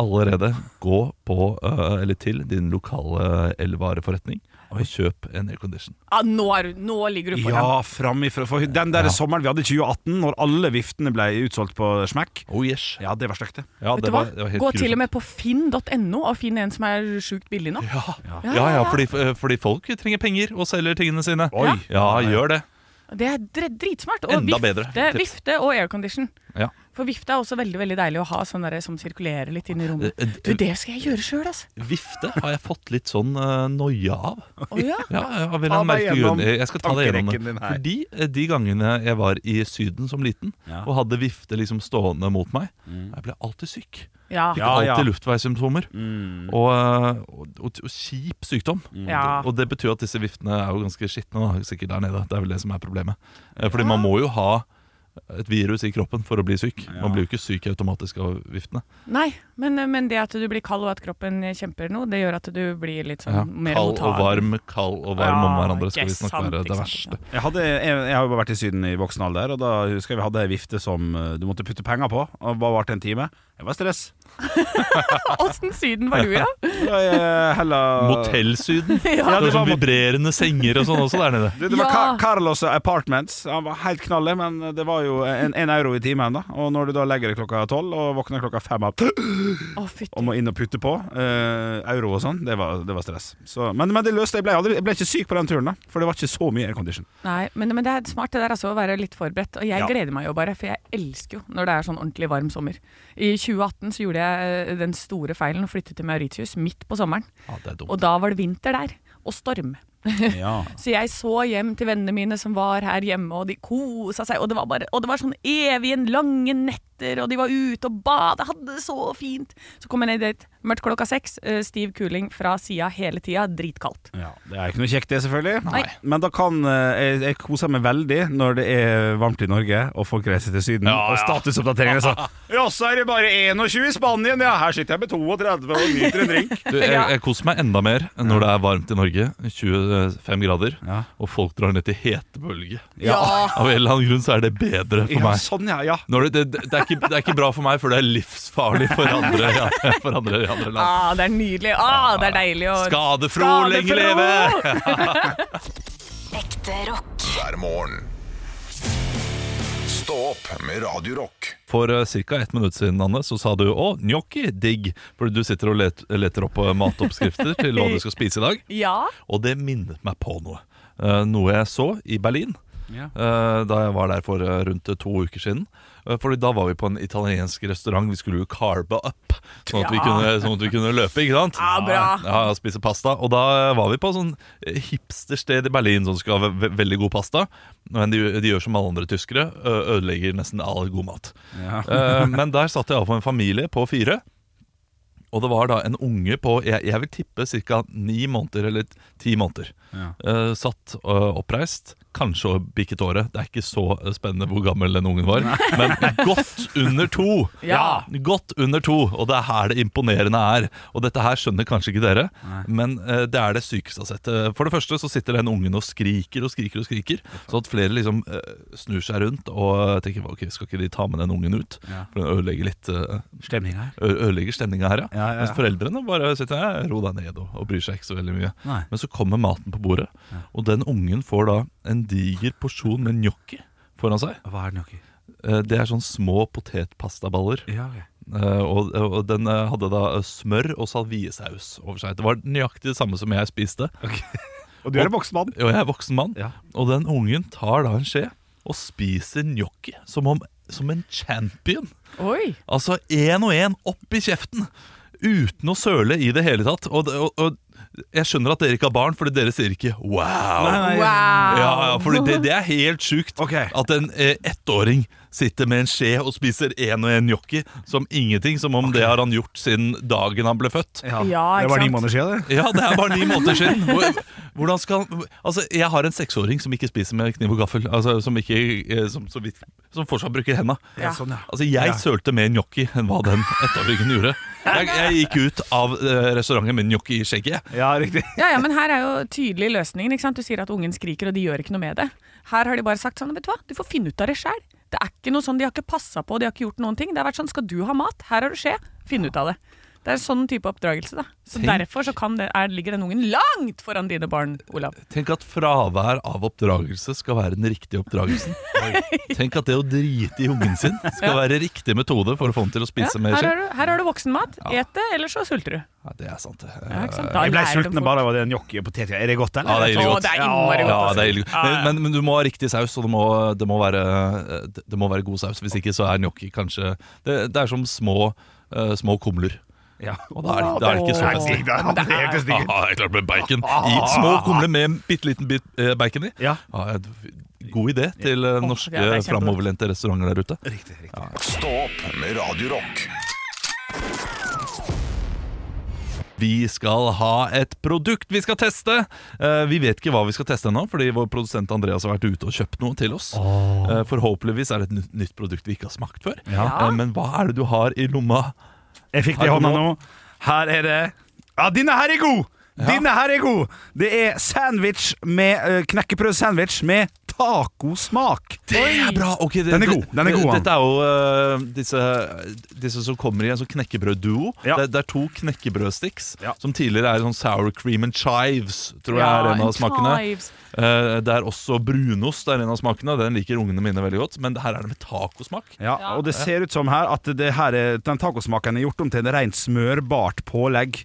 Allerede gå på, eh, eller til din lokale eh, elvareforretning og kjøp en aircondition. Ja, nå, er, du- nå ligger du foran. Ja, fram ifra For den der sommeren vi hadde i 2018, når alle viftene ble utsolgt på smekk Oh yes Ja, det var stygt, det. Ja, Vet du hva? Gå til og med på finn.no og finn en som er sjukt billig nå. Ja, Ja, ja, fordi, eh, fordi folk trenger penger og selger tingene sine. Oi. Ja, gjør det. Det er dr- dritsmart. Og Enda vifte, bedre tips. vifte og aircondition. Ja. For vifte er også veldig veldig deilig å ha sånn derre som sirkulerer litt inn i rommet. Eh, eh, Du, det skal jeg gjøre sjøl, altså. Vifte har jeg fått litt sånn uh, noia av. Å ja. Ja, av en eller Ta annen deg merkelig gjennom grunn. Jeg skal ta deg gjennom det. tankerekken din her. Fordi eh, de gangene jeg var i Syden som liten og hadde vifte liksom stående mot meg, Mm. jeg ble alltid syk. Ja. Fikk Ja, ja. alltid luftveissymptomer. Mm. Og, eh, og, og, og kjip sykdom. Ja. Og det betyr at disse viftene er jo ganske skitne, da, sikkert der nede. Det er vel det som er problemet. Eh, Fordi man må jo ha et virus i kroppen for å bli syk. Man blir jo ikke syk automatisk av viftene. Nei, men, men det at du blir kald og at kroppen kjemper noe, det gjør at du blir litt sånn Ja. mer Kald og mottagelig. varm, kald og varm om Ja, hverandre skal ikke vi snakke sant, være det ikke verste. Jeg, hadde, jeg, jeg har jo vært i Syden i voksen alder, og da husker jeg vi hadde ei vifte som eh, du måtte putte penger på. Og bare varte en time. Jeg Det var stress. Åssen Syden var du, ja? eh, Motellsyden. Ja. Det er sånn mot- vibrerende senger og sånn også der nede. Du, det var Ka Carlos Apartments. Han var helt knallig, men det var jo en, en euro i timen. da Og når du da legger deg klokka tolv og våkner klokka fem av og må inn og putte på eh, euro og sånn, det, var- det var stress. Så, men, men det løste jeg. Ble aldri, jeg ble ikke syk på den turen, da for det var ikke så mye aircondition. Nei, men, men det er smart det der altså, å være litt forberedt. Og jeg Ja. gleder meg jo bare, for jeg elsker jo når det er sånn ordentlig varm sommer. I 2018 så gjorde jeg eh, den store feilen og flyttet til Mauritius midt på sommeren. Og da var det vinter der, og storm. Ja. Så jeg så hjem til vennene mine som var her hjemme, og de kosa seg. Og det var, bare, og det var sånn evigen lange netter, og de var ute og badet, hadde det så fint. Så kom jeg ned dit, mørkt klokka seks, eh, stiv kuling fra sida hele tida, dritkaldt. Det er ikke noe kjekt, det, selvfølgelig. Nei. Men da kan eh, jeg, jeg koser meg veldig når det er varmt i Norge og folk reiser til Syden. Og statusoppdateringene sa Ja, så er det bare 21 i Spanien, ja! Her sitter jeg med 32 og nyter en drink. Du, jeg, jeg koser meg enda mer når det er varmt i Norge, 25 grader, og folk drar ned til hetebølge. Ja. Av en eller annen grunn så er det bedre for Ja, meg. sånn, ja, ja. Når det, det, det, er ikke, det er ikke bra for meg, for det er livsfarlig for andre, ja, for andre i andre land. Ah, det er nydelig. Ah, det er deilig å Skadefro, lenge leve! Ekte rock. Hver morgen. Stå opp med Radio Rock. For uh, ca. ett minutt siden Anne, så sa du 'å, gnocchi, digg', fordi du sitter og let, leter opp eh, matoppskrifter til hva du skal spise i dag. Ja. Og det minnet meg på noe. Eh, noe jeg så i Berlin Ja. eh, da jeg var der for eh, rundt to uker siden. Eh, Fordi da var vi på en italiensk restaurant. Vi skulle jo carbe up, sånn at, vi Ja. kunne, sånn at vi kunne løpe. ikke sant? Ja, bra. Ja, og Spise pasta. Og da var vi på sånn eh, hipstersted i Berlin som skal ha ve- ve veldig god pasta. Men de, de gjør som alle andre tyskere, ø- ødelegger nesten all god mat. Eh, Men der satt jeg av på en familie på fire. Og det var da en unge på jeg, jeg vil tippe ca. ni måneder eller ti måneder. Eh, satt eh, oppreist, kanskje og bikket året. Det er ikke så eh, spennende hvor gammel den ungen var, men godt under to! Ja. Godt under to, og det er her det imponerende er. Og dette her skjønner kanskje ikke dere, men eh, det er det sykeste jeg har sett. Eh, For det første så sitter den ungen og skriker og skriker og skriker, så at flere liksom eh, snur seg rundt og eh, tenker ok, skal ikke de ta med den ungen ut? Ja. For den ødelegger litt uh, Stemninga her. ø- ødelegger stemninga her, ja. Ja, ja, ja. Mens foreldrene bare sitter her, ro deg ned og, og bryr seg ikke så veldig mye. Nei. Men så kommer maten på bordet, og den ungen får da en diger porsjon med gnocchi foran seg. Hva er gnocchi? Det er sånn små potetpastaballer. Ja, ok. Eh, og, og den eh, hadde da smør og salviesaus over seg. Det var nøyaktig det samme som jeg spiste. Og du er en voksen mann. Og jeg er voksen mann. Og den ungen tar da en skje og spiser gnocchi som, om- som en champion. Oi. Altså én og én opp i kjeften Uten å søle i det hele tatt og, og, og jeg skjønner at dere ikke har barn Fordi dere sier ikke wow, Nei, nei. Wow. Ja, ja, fordi det, det er helt sykt At en eh, ettåring sitter med en skje Og spiser en og en gnocchi Som ingenting, som om det har han gjort Siden dagen han ble født Ja, Ja, det ikke var ni sant? måneder siden, det. Ja, det er bare ni måneder siden Hvor- Hvordan skal Altså, jeg har en seksåring som ikke spiser med kniv og gaffel Altså, som ikke eh, Som, så vidt- som fortsatt bruker hendene Ja, sånn, ja. Altså, jeg Ja. sølte mer gnocchi enn hva den ettåringen gjorde. Jeg, jeg gikk ut av eh, restauranten med gnocchi i skjegget. Ja, riktig Ja, ja, men her er jo tydelig løsningen. ikke sant? Du sier at ungen skriker, og de gjør ikke noe med det. Her har de bare sagt sånn, vet du hva, du får finne ut av det sjæl. Det er ikke noe sånn, De har ikke passa på, de har ikke gjort noen ting. Det har vært sånn, skal du ha mat? Her har du skje, finn ut av det. Det er en sånn type oppdragelse, da. Så Tenk. derfor så kan det, er, ligger den ungen langt foran dine barn, Olav. Tenk at fravær av oppdragelse skal være den riktige oppdragelsen. Tenk at det å drite i ungen sin skal være riktig metode for å få den til å Ja, spise her, mer har skje. du, her har du voksenmat. Et det, eller så sulter du. Ja, det er sant, det. Ja, ikke sant? Da Jeg ble lærer de sulten bare av det gnocchi og poteter. Er det godt, Ja, eller? det er ille Å, godt. innmari Ja, det godt, er altså. ille godt. Ja, ja. Men, men, men du må ha riktig saus, og det må, det må, være, eh, det må være god saus. Hvis ikke så er gnocchi kanskje Det, det er som små, eh, små kumler. Og da er, det- da er det ikke så Åh. festlig. Det er digg, det er helt Ah. digg. Ja, det er klart med bacon. I små kumler med en bitte liten bit eh, bacon i. Ja. god idé til eh, norske det er kjempebra. framoverlente restauranter der ute. Stå opp med Radio Rock. Vi skal ha et produkt vi skal teste. Eh, vi vet ikke hva vi skal teste ennå, fordi vår produsent Andreas har vært ute og kjøpt noe til oss. Eh, forhåpentligvis er det et nytt, nytt produkt vi ikke har smakt før. Ja. Eh, men hva er det du har i lomma? Jeg fikk det i Har du hånda nå. Her er det Ja, denne her er god! Denne her er god! Det er sandwich med eh, knekkebrødsandwich med tacosmak. Det er bra! Ok, det, Den er god. Den er god, han. Dette er jo eh, disse, disse som kommer i en sånn knekkebrødduo. Det, det er to knekkebrødsticks som tidligere er sånn sour cream and chives, tror jeg Ja, er en av and smakene. chives. Eh, det er også brunost er en av smakene, den liker ungene mine veldig godt. Men her er det med tacosmak. Ja, og det ser ut som her at det her er, den tacosmaken er gjort om til en rent smørbart pålegg.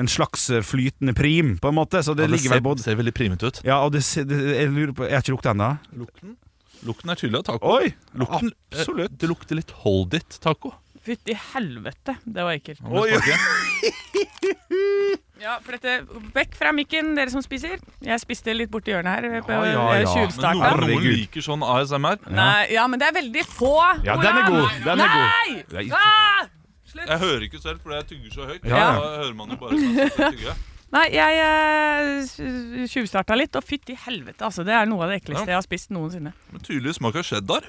En slags eh, flytende prim, på en måte. Så det, Ja, det ligger vel ser- både ser veldig primete ut. Ja, og det, ser- det, jeg lurer på Jeg har ikke lukta ennå. Lukten Lukten er tydelig av taco. Oi, Lukten, absolutt. Det lukter litt hold it-taco. Fytti helvete, det var ekkelt. Oi, Ja, for dette, Vekk fra mikken, dere som spiser. Jeg spiste litt borti hjørnet her. eh, På, ja, ja. tjuvstarta. Men noen, noen liker sånn ASMR. Nei, ja, men det er veldig få. Ja, Olav. den er god, den er Nei! god. Nei! Ah! Jeg hører ikke selv, fordi jeg tygger så høyt. Ja, ja. Da hører man jo bare sånn meg selv tygge. Nei, jeg eh, s- tjuvstarta litt, og fytti helvete, altså. Det er noe av det ekleste Ja. jeg har spist noensinne. Men tydelig smak av cheddar.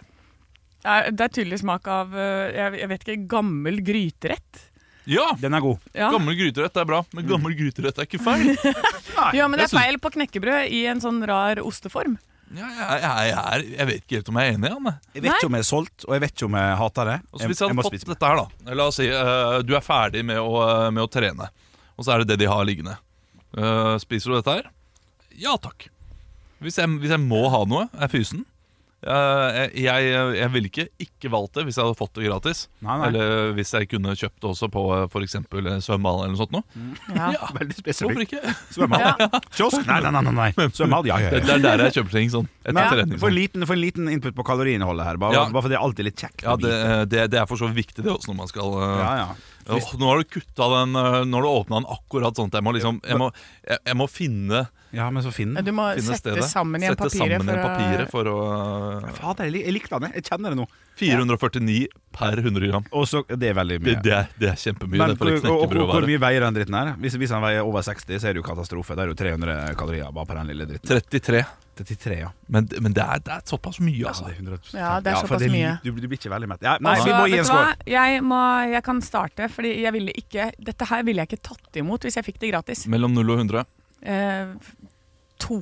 Det er, det er tydelig smak av eh, jeg, jeg vet ikke, gammel gryterett. Ja! Den er god. Ja. Gammel gryterett er bra, men gammel gryterett er ikke feil. Jeg, ja, men det jeg er synes- feil på knekkebrød i en sånn rar osteform. jeg, jeg, er, jeg vet ikke helt om jeg er enig i han. Jeg vet ikke om jeg er solgt, og jeg vet ikke om jeg hater det. Altså, hvis jeg hadde fått dette her, da La oss si eh, du er ferdig med å, eh, med å trene, og så er det det de har liggende. Eh, spiser du dette her? Ja takk. Hvis jeg, hvis jeg må ha noe, er fysen. Eh, jeg, jeg ville ikke ikke valgt det hvis jeg hadde fått det gratis. nei. Eller hvis jeg kunne kjøpt det også på eh, f.eks. svømmehall eller noe sånt. Noe. Ja. Veldig spesifikt. Mm. Svømmehall? Ja. Kiosk? Nei, nei, nei. nei, nei. Svømmehall, ja, ja, ja. Det det er der jeg kjøper ting sånn. Etter Nei, trening. for, en liten, for en liten input på kaloriinnholdet her, bare, Ja. bare for det er alltid litt kjekt. Ja, det, eh, det, det er for så vidt viktig det også når man skal eh, Ja, ja. ja, åh, Nå har du kutta den eh, Når du åpna den akkurat sånn at Jeg må liksom Jeg må, jeg, jeg må finne Ja, men så finn Ja, du må sette sammen igjen Sette papiret sammen igjen for å- papiret for å Fader, jeg lik- jeg likte den. Jeg kjenner det nå. 449 per 100 gram. Og så, det er veldig mye. Det, det, er, det er kjempemye. Men det er for et hvor- og, knekkebrød hvor, å hvor være. mye veier den dritten her? Hvis, hvis den veier over 60, så er det jo katastrofe. Det er jo 300 kalorier bare på den lille dritten. 33. 33, ja. Men, men det, er, det er såpass mye, altså. Ja, det er for såpass li- mye. Du, du blir ikke veldig mett. Ja, nei, Altså, vi må gi vet en du hva? skål. Jeg, må, jeg kan starte, fordi jeg ville ikke Dette her ville jeg ikke tatt imot hvis jeg fikk det gratis. Mellom 0 og 100. Eh, to.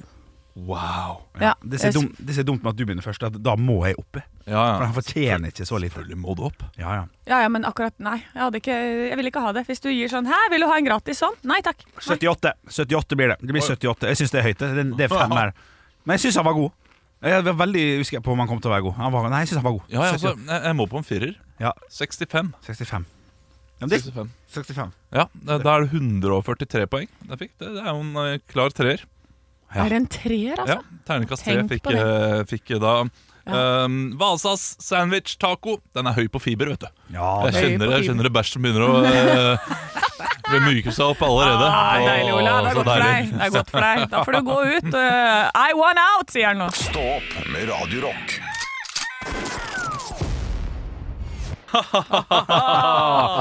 Wow. Ja. eh, Det som er dumt, det som er dumt med at du begynner først, er at da må jeg oppe. For han fortjener ikke så lite. Selvfølgelig må du opp. Ja, ja. Ja, ja, men akkurat Nei, jeg, hadde ikke, jeg ville ikke ha det. Hvis du gir sånn 'Hæ, vil du ha en gratis sånn?' Nei takk. 78. 78 blir det. Det blir 78. Jeg syns det er høyt. Det, det er femmer. Men jeg syns han var god. Jeg var veldig usikker på om han kom til å være god. Han var, nei, jeg syns han var god. Ja, ja, altså, jeg, jeg må på en firer. Ja. 65. 65. Ja, men det- 65. 65. Ja, da da er det 143 poeng jeg fikk. Det, det er jo en eh, klar treer. Ja. Er det en treer, altså? Ja, Ternekast 3 Tenk fikk, på det. eh, fikk da ehm, Valsas sandwich taco. Den er høy på fiber, vet du. jeg, det er høy kjenner, på jeg fiber. kjenner det bæsjen begynner å eh, bli myke seg opp allerede. Ah, deilig, Olav. Det er Å, så godt for deg. deilig. Det er godt for deg. Da får du gå ut. eh, I want out, sier han nå. Stå opp med Radio Rock.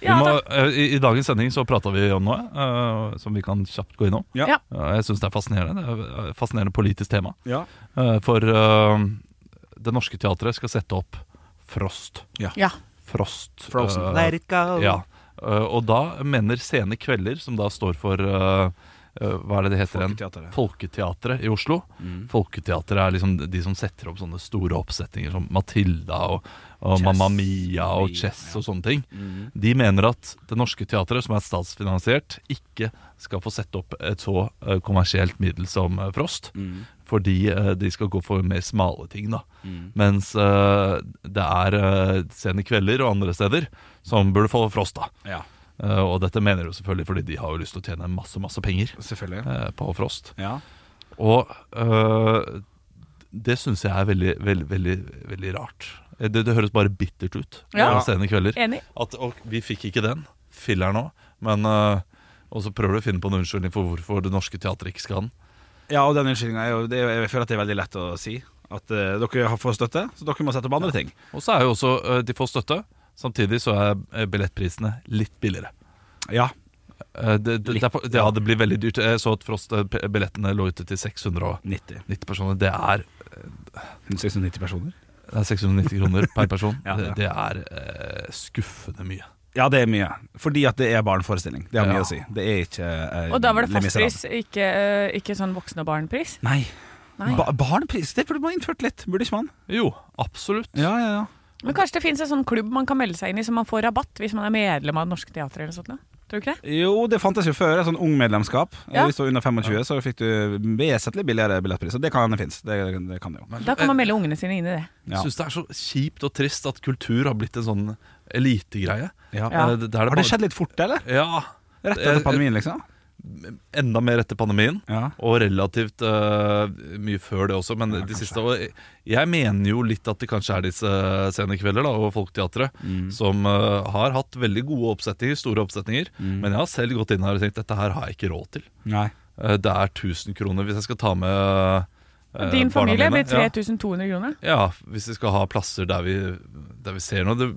Vi må, eh, i, I dagens sending så prata vi om noe eh, som vi kan kjapt gå innom. Ja. Ja. Eh, jeg syns det er fascinerende. Det er et fascinerende politisk tema. Ja. Eh, for eh, det norske teatret skal sette opp Frost. Ja. Frost. Frozen. eh, Let it go. Ja. Eh, og da mener Sene Kvelder, som da står for eh, eh, hva er det det heter igjen? Folketeatret. Folketeatret i Oslo. Mm. Folketeatret er liksom de som setter opp sånne store oppsetninger som Matilda og, og Mamma Mia og Chess og sånne ting. Mhm. De mener at Det Norske Teatret, som er statsfinansiert, ikke skal få sette opp et så eh, kommersielt middel som eh, Frost. Mhm. Fordi eh, de skal gå for mer smale ting, da. Mhm. Mens eh, det er eh, Sene Kvelder og andre steder som burde få Frost, da. Ja. Eh, og dette mener de jo selvfølgelig fordi de har jo lyst til å tjene masse, masse penger eh, på Frost. Ja. Og øh, det syns jeg er veldig, veldig, veldig, veldig rart. Eh, Det, det høres bare bittert ut. Ja. på Sene kvelder. Enig. At og, vi fikk ikke den. Filler nå. Men, øh, og så prøver du å finne på en unnskyldning for hvorfor Det Norske Teatret ikke skal ha den. Ja, og den unnskyldninga er jo det, er- Jeg føler at det er veldig lett å si. At eh, dere har fått støtte, så dere må sette opp andre ting. Og så er jo også øh, de får støtte. Samtidig så er eh, billettprisene litt billigere. Ja. Eh, Det, det, derfor, det, ja, det blir veldig dyrt. Jeg så at Frost eh, p- billettene lå ute til 690 personer. Det er eh, 690 personer? Det er 690 kroner per person. Ja, ja. Det, det er eh, skuffende mye. Ja, det er mye. Fordi at det er bare en forestilling. Det har mye Ja. å si. Det er ikke eh, Og da var det Les Miserables. fastpris, ikke, eh, ikke sånn voksen og barn-pris. Nei. Nei. Ba barn priser, det burde man innført litt, burde ikke man? Jo, absolutt. Ja, ja, ja. Men kanskje det finnes en sånn klubb man kan melde seg inn i, så man får rabatt hvis man er medlem av Det Norske Teatret eller noe sånt. da? Tror du ikke det? Jo, det fantes jo før, et sånn ung medlemskap. Ja. Hvis du var under 25, så fikk du vesentlig billigere billettpriser. Det kan det finnes. Det, det kan det jo. Eh, Da kan man melde ungene sine inn i det. Jeg syns det er så kjipt og trist at kultur har blitt en sånn elitegreie. Ja. Eh, det- der er Har det bare- skjedd litt fort, eller? Ja. Eh, Rett etter pandemien, liksom? Enda mer etter pandemien, og relativt eh, mye før det også. Men de siste og Jeg mener jo litt at det kanskje er disse scenekvelder da, og Folketeatret Mm. som eh, har hatt veldig gode oppsetninger, store oppsetninger. Men jeg har selv gått inn her og tenkt dette her har jeg ikke råd til. Mm. Nei. Eh, det er 1000 kroner hvis jeg skal ta med eh, Din barna familie mine. blir 3200 kroner. Ja, hvis vi skal ha plasser der vi, der vi ser noe. Det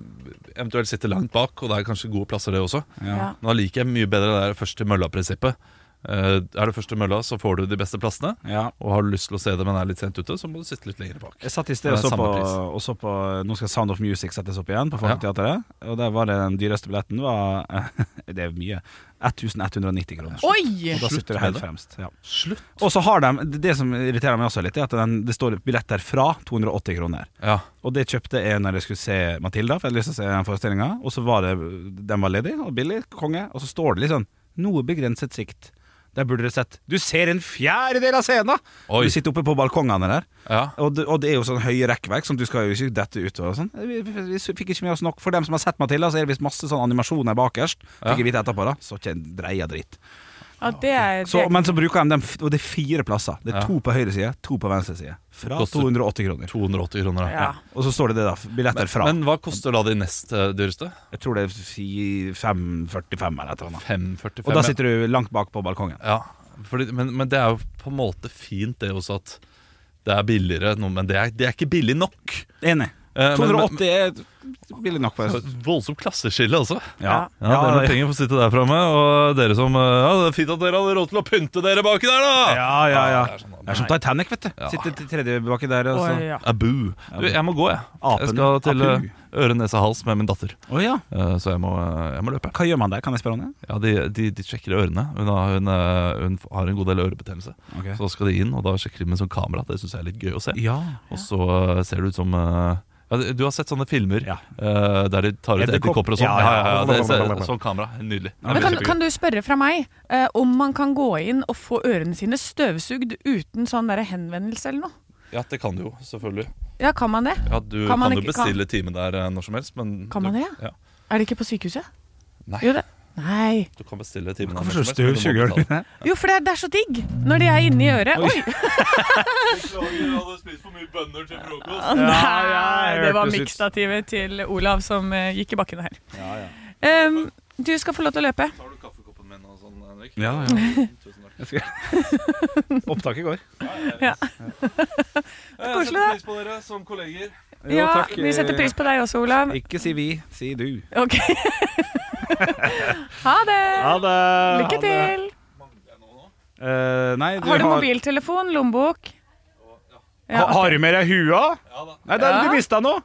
eventuelt sitter langt bak, og det er kanskje gode plasser, det også. Ja. Nå liker jeg mye bedre det der først til mølla-prinsippet. Eh, er du først til mølla, så får du de beste plassene. Og har du lyst til å se det, men er litt sent ute, så må du sitte litt lenger bak. Jeg satt i sted Men det og så, er på, samme pris. og så på Nå skal Sound of Music settes opp igjen på Folketeatret. Og der var det den dyreste billetten var Det er mye. 1190 kroner. Oi! Og da Slutt sitter med det helt det. fremst. Ja. Slutt. Og så har de Det som irriterer meg også litt, er at den, det står billetter fra 280 kroner. Ja. Og det kjøpte jeg når jeg skulle se Matilda, for jeg hadde lyst til å se den forestillinga. Og så var det Den var ledig, og billig, konge. Og så står det litt sånn Noe begrenset sikt. Der burde dere sett Du ser en fjerdedel av scenen! Oi. Du sitter oppe på balkongene der. Ja. Og, det, og det er jo sånn høye rekkverk, som du skal jo ikke dette ut og sånn. Vi, vi, vi fikk ikke med oss nok. For dem som har sett Matilda, så er det visst masse sånn animasjoner bakerst. Ja. Fikk jeg vite etterpå, da. Så ikke en dreia dritt. Ja, det er, Så, Eh, det er men så bruker de dem, f- og det er fire plasser. Det er Ja. to på høyre side, to på venstre side. Fra Koster 280 kroner. 280 kroner, ja. Ja. Og så står det det, da. Billetter fra. Men hva koster da de nest eh, dyreste? jeg tror det er fi- 545 eller et eller annet. 545? Og da sitter du langt bak på balkongen. Ja, fordi, men, men det er jo på en måte fint det også at det er billigere, nå, men det er, det er ikke billig nok. Enig. Eh, men- 280 er billig nok. på en- Voldsomt klasseskille, altså. Ja. Ja, Dere Ja, med penger får sitte der framme. Og dere som eh, Ja, det er fint at dere hadde råd til å pynte dere baki der, da! Ja, ja, ja. det er sånn, Det er som Titanic, vet du. Sitter til tredje baki der. Og så. Oi, ja. Abu. Du, jeg må gå, jeg. Apen. Jeg skal til eh, Apu. øre, nese, hals med min datter. Å, ja. Eh, Så jeg må, eh, jeg må løpe. Hva gjør man der? Kan jeg spørre om det? Ja, de, de, de sjekker ørene. Hun har, hun, eh, hun har en god del ørebetennelse. Ok. Så skal de inn, og da sjekker de med sånn kamera. Det syns jeg er litt gøy å se. Ja. Og så eh, ser det ut som eh, ja, Du har sett sånne filmer eh, der de tar ut Edderkopp. edderkopper og sånn? Ja, Ja, ja, ja, ja. det ser- Sånn kamera. Nydelig. Det men blir kan, kjempegøy. kan du spørre fra meg eh, om man kan gå inn og få ørene sine støvsugd uten sånn der henvendelse eller noe? Ja, det kan du jo, selvfølgelig. Ja, kan man det? Ja, Du Kan kan, man jo ikke- kan- bestille time der eh, når som helst, men Kan man det, ja? ja. Er det ikke på sykehuset? Nei. Jo, det. Nei. Du kan bestille time der Hvorfor når så som helst. men du må støvsuger du? betale. Jo, for det er, det er så digg når de er inni øret. Oi! Beklager, jeg hadde spist for mye bønner til frokost. Å, Nei, det var hørtes ut. mikstativet til Olav som eh, gikk i bakken her. Ja, ja. Em, du skal få lov til å løpe. Tar du kaffekoppen min og sånn, Henrik? Ja, ja. Tusen takk. Jeg Opptaket går. Ja. Eh, er koselig, setter da. pris på dere som kolleger. Jo, Ja, takk. vi setter pris på deg også, Olav. Ikke si vi, si du. Ok. Ha det! Ha det! Lykke Ha det. til! Eh, nei, du Har du mobiltelefon, lommebok? Ha, har du med deg hua? Nei, der, Ja. du mista noe.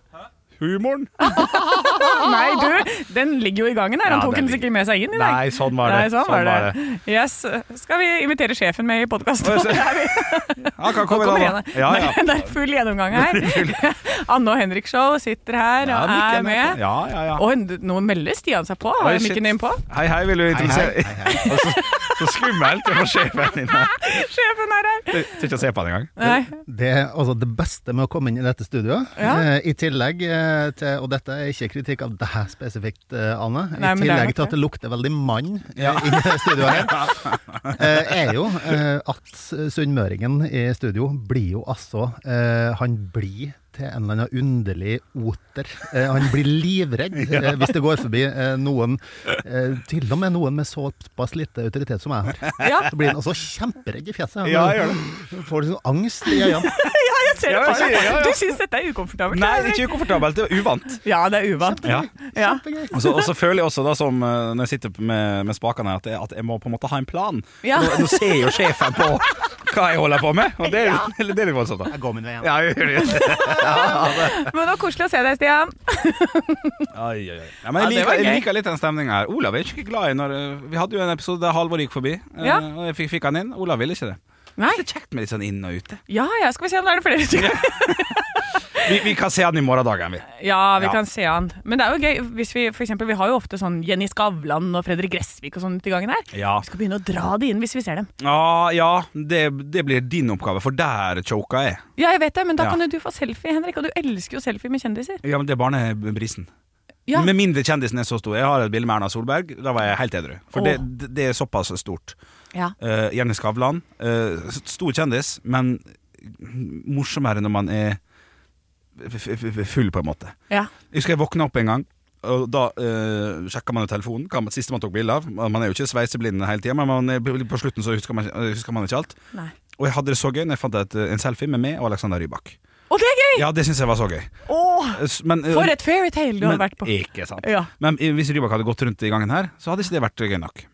Humoren. Nei, du, den ligger jo i gangen her. Han Ja, tok den den sikkert med seg inn i dag. Nei, sånn var det. Nei, sånn, Sånn var var det. Yes. Skal vi invitere sjefen med i podkasten? Å, jeg ser- Han kan komme da, da. Ja, ja. Det er full gjennomgang her. Anne og Henrik Show sitter her Ja, og Mikken er er på. med. Ja, ja, ja. Og nå melder Stian seg på. Oi, Har jeg shit. mikken din på? Hei, hei, vil du introdusere Og Så, så skummelt å få sjefen din her. Sjefen er her! Tør tør ikke å se på han engang. Nei. Det er altså det beste med å komme inn i dette studioet. Ja. Eh, I tillegg eh, til Og dette er ikke kritikk av deg spesifikt, eh, Anne. I Nei, men det er nok tillegg til det. at det lukter veldig mann ja. i det studioet her, eh, er jo eh, at sunnmøringen i studio blir jo altså eh, Han blir til en eller annen underlig oter. Eh, han blir livredd Ja. eh, hvis det går forbi eh, noen, eh, til og med noen med såpass lite autoritet som jeg har. Ja. Så blir han altså kjemperedd i fjeset. Han Ja, gjør Får liksom angst i øynene. Ja, jeg ser det Ja, jeg for sier- ja, meg. ja. Du syns dette er ukomfortabelt? Nei, det Henrik? er ikke ukomfortabelt. Det er uvant. Ja, det er uvant. Ja. Ja. Og så, og så føler jeg også, da, som eh, når jeg sitter med, med spakene, her, at jeg, at jeg må på en måte ha en plan. Ja. Nå, nå ser jo sjefen på hva jeg holder på med, og det er, det er litt voldsomt. da. Jeg går min vei. Ja, jeg gjør det. Men det var koselig å se deg, Stian. Ai, ai, ai. Ja, men jeg, Ja, det var liker, jeg gøy. liker litt den stemninga her. Olav er ikke glad i når eh, Vi hadde jo en episode der Halvor gikk forbi, eh, Ja. og jeg fikk, fikk han inn. Olav ville ikke det. Det er kjekt med litt sånn inn og ute. Ja, ja, skal vi se om det er det flere stykker. Vi, vi kan se han i morgendagen, vi. Ja, vi Ja. kan se han. Men det er jo gøy hvis vi for eksempel, Vi har jo ofte sånn Jenny Skavlan og Fredrik Gressvik og sånn til gangen her. Ja. Vi skal begynne å dra de inn hvis vi ser dem. Ja, Ah, ja det, det blir din oppgave, for der choka jeg. Ja, jeg vet det, men da Ja. kan jo du få selfie, Henrik. Og du elsker jo selfie med kjendiser. Ja, men det er barnebrisen. Ja. Med mindre kjendisen er så stor. Jeg har et bilde med Erna Solberg. Da var jeg helt edru. For Åh. det, det- det er såpass stort. Ja. Eh, Jenny Skavlan. eh, s- stor kjendis, men morsommere når man er f- f- f- full, på en måte. Ja. Jeg husker jeg våkna opp en gang, og da uh, sjekka man jo telefonen. Hva man- siste man tok bilde av. Man er jo ikke sveiseblind hele tida, men man er, på slutten så husker man, husker man ikke alt. Nei. Og jeg hadde det så gøy når jeg fant et, en selfie med meg og Alexander Rybak. Å, det er gøy! Ja, det syns jeg var så gøy. Åh, S- Men, eh, for et fairytale du har men- vært på. Ikke sant. Ja. Men i- hvis Rybak hadde gått rundt i gangen her, så hadde ikke det vært gøy nok.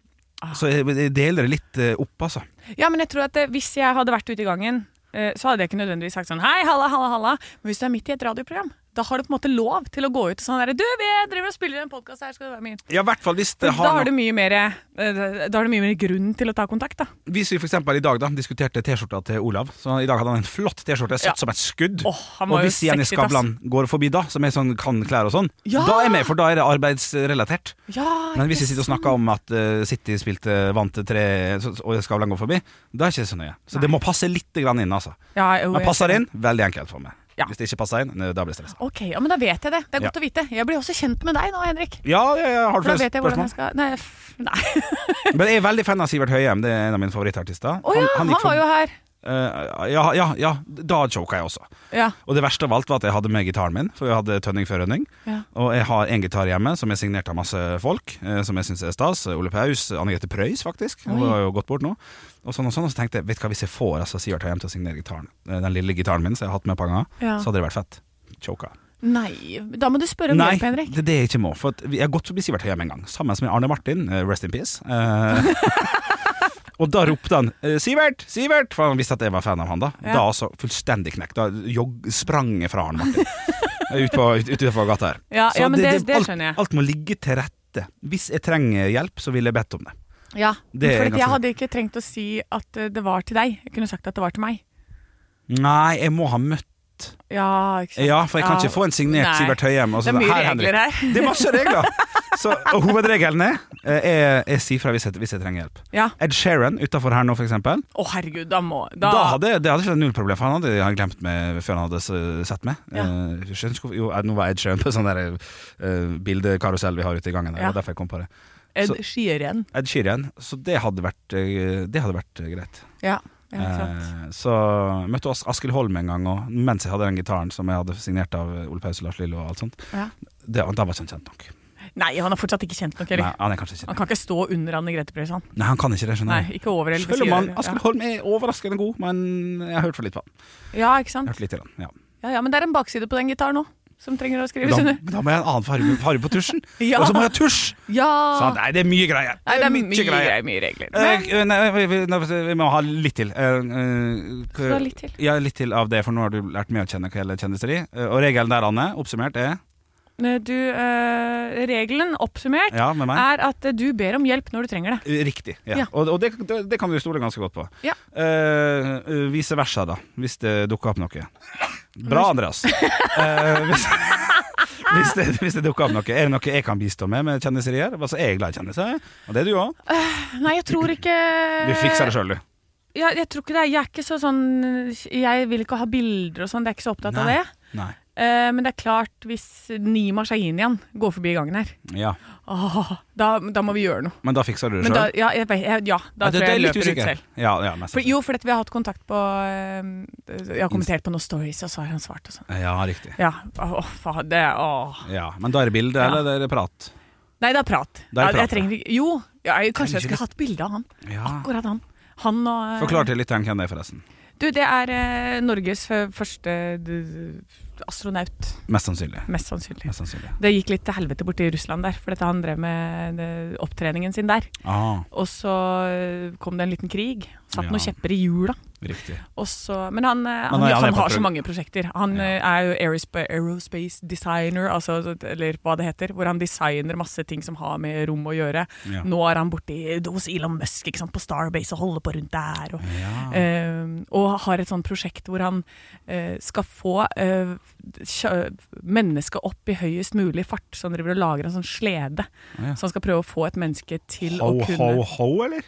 Ah. Så jeg, jeg deler det litt eh, opp, altså. Ja, men jeg tror at eh, hvis jeg hadde vært ute i gangen, eh, så hadde jeg ikke nødvendigvis sagt sånn hei, halla, halla, halla. Men hvis du er midt i et radioprogram, da har du på en måte lov til å gå ut og sånn derre Du, vi driver og spiller en podkast her, skal du være med inn? Ja, i hvert fall hvis For det Da har har du noe mye mer eh, Da har du mye mer grunn til å ta kontakt, da. Hvis vi for eksempel i dag da diskuterte T-skjorta til Olav, så i dag hadde han en flott T-skjorte, satt Ja. som et skudd. han var og jo hvis Jenny sexy, ass. Skavlan går forbi da, som er sånn kan klær og sånn, Ja! da er jeg med, for da er det arbeidsrelatert. Ja, Men hvis vi sitter og snakker om at eh, City spilte vant til tre, så- og Skavlan går forbi, da er ikke det så nøye. Så det må passe litt grann inn, altså. Ja, jo, Men jeg- passer inn, veldig enkelt for meg. Ja. Hvis det ikke passer inn, ne, da blir jeg stressa. Ok, ja, men da vet jeg det. Det er godt Ja. å vite. Jeg blir også kjent med deg nå, Henrik. Ja, ja, ja, har du For da flere vet jeg hvordan spørsmål? jeg skal Nei, f- nei. Men jeg er veldig fan av Sivert Høyem, det er en av mine favorittartister. Å ja, han, gikk for- var jo her. Eh, ja, ja, ja, da choka jeg også. Ja. Og det verste av alt var at jeg hadde med gitaren min, for jeg hadde tønning før rønning. Ja. Og jeg har en gitar hjemme som er signert av masse folk, eh, som jeg syns er stas. Ole Paus, Anne Grete Preus, faktisk. Hun Oi. har jo gått bort nå. Og sånn og sånn, og så tenkte jeg, vet du hva, hvis jeg får altså, Sivert Høyem til å signere gitaren, eh, den lille gitaren min som jeg har hatt med et par ganger, Ja. så hadde det vært fett. Choka. Nei, da må du spørre om Nei, hjelp, Henrik. det er det jeg ikke må. For at vi- jeg har gått forbi Sivert Høyem en gang, sammen med Arne Martin, eh, rest in peace. Eh, og da ropte han eh, 'Sivert! Sivert!' for han visste at jeg var fan av han da. Ja. Da altså fullstendig knekt. Da jogg, sprang jeg fra Arne Martin ut på- ut- utenfor gata her. Ja, Så ja, men det- det alt, skjønner jeg. alt må ligge til rette. Hvis jeg trenger hjelp, så ville jeg bedt om det. Ja, Det er for ganske- jeg hadde ikke trengt å si at eh, det var til deg. Jeg kunne sagt at det var til meg. Nei, jeg må ha møtt Ja, ikke sant? Ja, for jeg kan ikke få en signert Nei. Sivert Høyem. og så- Det er mye her, Henrik. regler her. Det er masse regler! Så, og hovedregelen er eh, jeg, jeg sier fra hvis jeg, hvis jeg trenger hjelp. Ja. Ed Sheeran utafor her nå, for eksempel. Å, herregud, da må Da, da, hadde det hadde ikke vært null problem, for han hadde han glemt meg før han hadde s- sett meg. Ja. Eh, jeg skjønner ikke hvorfor- jo, eh, nå var Ed Sheeran på sånn der, eh, bildekarusell vi har ute i gangen. Der, Ja. og derfor jeg kom på det. Ed så- Sheeran. Ed Sheeran. Så det hadde vært, eh, det hadde vært eh, greit. Ja, ja, ikke sant. Eh, så møtte As Askild Holm en gang, og mens jeg hadde den gitaren som jeg hadde signert av eh, Ole Paus og Lars Lillo og alt sånt, Ja. det, da var ikke han kjent nok. Nei, han er fortsatt ikke kjent nok Nei, heller. han er kanskje ikke Han det. kan ikke stå under Anne Grete Preus, han. Nei, han kan ikke det, skjønner Nei, ikke over eller Selv ved om siden, han, eller- Askild Holm er overraskende god, men jeg har hørt for litt på han. Ja, Jeg har ikke sant? hørt litt til han, ja. Ja, ja, men det er en bakside på den gitaren òg, som trenger å skrives Da, under. da må jeg ha en annen farge, farge på tusjen. Ja. Og så må jeg ha tusj! Ja! Sant? nei, Sånn, det er mye greier. Nei, det er mye greier. greier, mye regler. Eh, Men, eh, nei, vi, vi, nei, vi må ha litt til. Eh, eh, Skal du ha litt til? Ja, litt til av det, for nå har du lært mye å kjenne hva gjelder kjendiseri. Eh, og regelen der, Anne, oppsummert er eh, du, eh, regelen oppsummert Ja, med meg. er at eh, du ber om hjelp når du trenger det. eh, riktig. Ja. Ja. Og, og det, det, det kan du stole ganske godt på. Ja. Eh, eh, vice versa, da, hvis det dukker opp noe. Bra, Andreas. Eh, hvis, hvis, det, hvis det dukker opp noe, er det noe jeg kan bistå med med kjendiserier? Altså, jeg er glad i kjendiser, og det er du òg. Nei, jeg tror ikke Eh, Du fikser det sjøl, du. Jeg, jeg tror ikke det. er- Jeg er ikke så sånn Jeg vil ikke ha bilder og sånn. Jeg er ikke så opptatt av Nei. det. Nei. Eh, men det er klart, hvis Nima Shahinian går forbi gangen her, Ja. åh, da, da må vi gjøre noe. Men da fikser du det Men da, sjøl? ja, jeg, vet- jeg, ja, da tror jeg jeg løper ut selv. Ja, ja, mest For, sannsynlig. jo, fordi at vi har hatt kontakt på eh, Jeg har kommentert på noen stories, og så har han svart og sånn. ja, riktig. Ja, åh, faen, det er- åh. Ja, men da er det bilde, Ja. eller er det prat? Nei, det er prat. Det er Ja, prat, jeg trenger ikke Jo, ja, jeg, kanskje jeg Trenger ikke skulle hatt bilde av han. Ja. Akkurat han. Han og eh, Forklar til lytteren hvem det er, forresten. Du, det er eh, Norges eh, første d- astronaut. Mest sannsynlig. Mest sannsynlig. Mest sannsynlig. Det gikk litt til helvete borti Russland der, for dette han drev med eh, opptreningen sin der. Ah. Og så eh, kom det en liten krig. Satt Ja. noen kjepper i hjula. Riktig. Og så- Men han, eh, han, han er- han, han er har på så prøv- mange prosjekter. Han eh, er jo aerospace, aerospace designer, altså, eller hva det heter, hvor han designer masse ting som har med rom å gjøre. Ja. Nå er han borti hos Elon Musk ikke sant, på Starbase og holder på rundt der. Og, eh, og har et sånt prosjekt hvor han eh, skal få eh, kjø- mennesket opp i høyest mulig fart. Så han driver og lager en sånn slede. Ja. Så han skal prøve å få et menneske til Ho, å kunne ho, ho, eller?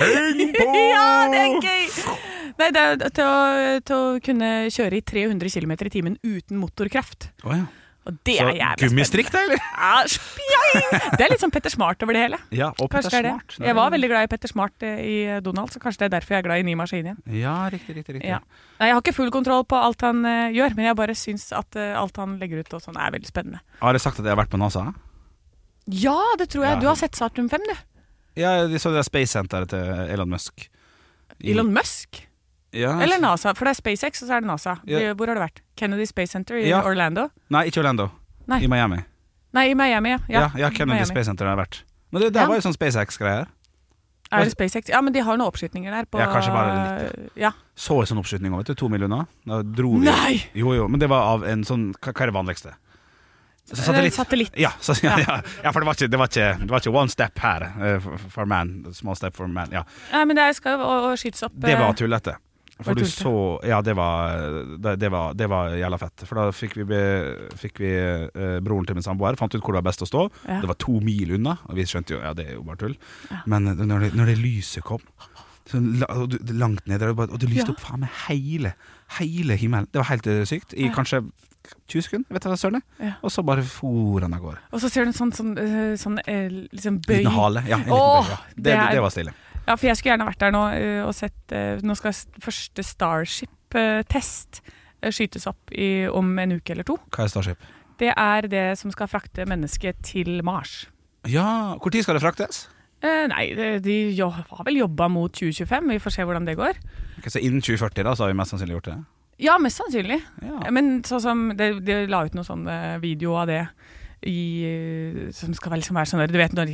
Heng på! ja, det er gøy! Nei, det er til å, til å kunne kjøre i 300 km i timen uten motorkraft. Å, ja. Og det Så er jævlig gummistrikk, da, eller? Ja, spjeng! det er litt sånn Petter Smart over det hele. Ja, og Petter Kanskje det er Smart. det. Jeg var veldig glad i Petter Smart eh, i Donald, så kanskje det er derfor jeg er glad i Ni Maskin igjen. Ja, riktig, riktig. riktig. Ja. Nei, jeg har ikke full kontroll på alt han eh, gjør, men jeg bare syns at eh, alt han legger ut og sånn er veldig spennende. Har jeg sagt at jeg har vært på NASA? Ja, det tror jeg. Ja. Du har sett Startrum 5, du. Ja, de så det der Space Centeret til Elon Musk. I- Elon Musk. Ja. Eller NASA, for det er SpaceX, og så er det NASA. Ja. Hvor har du vært? Kennedy Space Center i Ja. Orlando? Nei, ikke Orlando. Nei. I Miami. Nei, i Miami, ja. Ja, ja, Kennedy Miami. Space Center har jeg vært. Men det der Ja. var jo sånn SpaceX-greier. Er det SpaceX? Ja, men de har jo noen oppskytninger der. På, Altså- Ja, kanskje bare litt. Ja. Så en sånn oppskytning over til to millioner. Da dro vi. Nei! Jo, jo, men det var av en sånn Hva hva er det vanligste? Så Eh, satellitt. Ja, så, ja, Ja. ja. ja, for det var, ikke, det, var ikke, det var ikke one step her eh, for- for man, small step for man. Ja. Nei, men det er- skal jo å- å skytes opp. Det eh, var tullete. Var For det du tullete? så Ja, det var, det, det var, det var jævla fett. For da fikk vi, be- fikk vi eh, broren til min samboer fant ut hvor det var best å stå. Ja. Det var to mil unna, og vi skjønte jo ja, det er jo bare tull. Men eh, når det, når det lyset kom sånn la- og du, det- langt ned der, og, bare, og det lyste Ja. opp faen meg hele, hele himmelen. Det var helt eh, sykt. I Ja. kanskje 20 sekunder, vet du hva søren er. Ja. Og så bare for han av gårde. Og så ser du en sånn, sånn, eh, sånn eh, liksom bøy. Liten hale. Ja, en liten Åh, bøy, ja. Det, det det, er- det var stille. Ja, for jeg skulle gjerne vært der nå eh, og sett eh, Nå skal s- første Starship-test eh, skytes opp i, om en uke eller to. Hva er Starship? Det er det som skal frakte mennesket til Mars. Ja, når skal det fraktes? Eh, nei, de, de jo, har vel jobba mot 2025, vi får se hvordan det går. Ok, så innen 2040 da, så har vi mest sannsynlig gjort det. Ja, mest sannsynlig. Men sånn som de, de la ut noen sånne videoer av det i, eh, som skal vel liksom være sånn der, Du vet når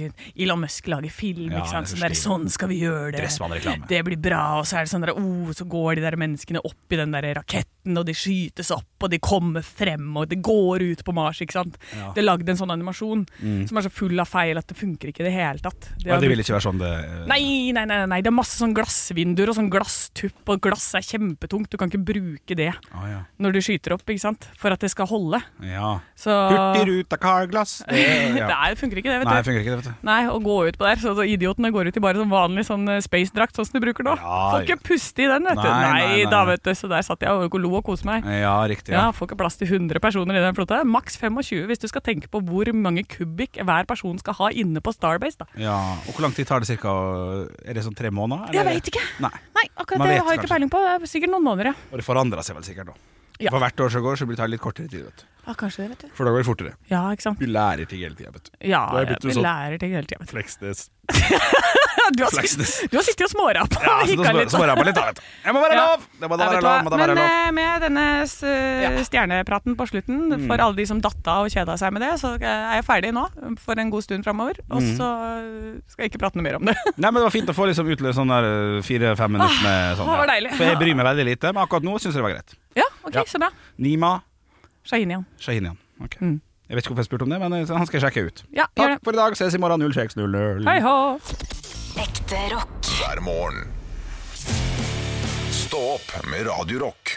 Elon Musk lager film, Ja, ikke sant? det er Sånn, der, stil. sånn skal vi gjøre det. Dressmann-reklame. Det blir bra. Og så er det sånn der, oh, så går de der menneskene opp i den der raketten, og de skytes opp, og de kommer frem, og det går ut på Mars, ikke sant. Ja. Det er lagd en sånn animasjon Mm. som er så full av feil at det funker ikke i det hele tatt. De Ja, har det brukt- vil ikke være sånn det Nei, nei, nei, nei, det er masse sånn glassvinduer og sånn glasstupp, og glass er kjempetungt. Du kan ikke bruke det Å, ja. når du skyter opp, ikke sant? For at det skal holde. Ja. Så Hurtigruta, Carglass Det, ja. Nei, det funker ikke det, vet Nei, det du. funker ikke, det, vet du. Nei, å gå ut på der, så, så idiotene går ut i bare sånn vanlig sånn eh, spacedrakt, sånn som de bruker nå. Ja, får ikke puste i den, vet du. Nei, Nei, nei, nei. da, vet du. Så der satt jeg og lo og koste meg. Ja, riktig. Ja, Ja. Får ikke plass til 100 personer i den flåta. Maks 25, hvis du skal tenke på hvor mange kubikk hver person skal ha inne på Starbase. da. ja. Og hvor lang tid tar det cirka? å- Er det sånn tre måneder? Jeg vet ikke. Nei. Nei, akkurat Man det vet har jeg ikke kanskje. peiling på. Det er sikkert noen måneder, ja. Og det forandrer seg vel sikkert da. Ja. For hvert år som går, så blir det litt kortere tid, vet du. Ja, kanskje det, vet du. For da går det fortere. Ja, ikke sant? Du lærer ting hele tida, vet du. Ja, Da har jeg ja, blitt vi en sånn lærer ting hele tida. Fleksnes. Du har, Fleksnes. sitt- du har sittet og smårappa. Ja, så og da hikka små- litt. smårappa litt, da, vet du. Jeg må være Ja. lov! Det må da være Ja, vet du hva? lov, må da være Men lov. eh, med denne s- eh, stjernepraten på slutten, Mm. for alle de som datta og kjeda seg med det, så er jeg ferdig nå for en god stund framover. Og Mm. så eh, skal jeg ikke prate noe mer om det. Nei, men Det var fint å få liksom utløst sånn der fire-fem minutter med sånn. Ah, det var ja. deilig. For jeg bryr meg veldig lite, men akkurat nå syns jeg det var greit. Ja, ok, Ja. så bra. Nima Shahinian. Shahinian. Ok. Jeg vet ikke hvorfor jeg spurte om det, men eh, han skal jeg sjekke ut. Ja, gjør Takk for i dag. Ses i morgen 06.00. Hei hå! Ekte rock. Hver morgen. Stå opp med Radio Rock.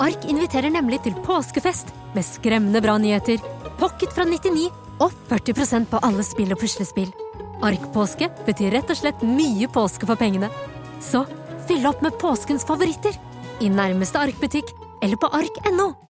Ark inviterer nemlig til påskefest med skremmende bra nyheter, pocket fra 99 og 40 på alle spill og puslespill. Ark-påske betyr rett og slett mye påske for pengene. Så fyll opp med påskens favoritter i nærmeste Ark-butikk eller på ark.no.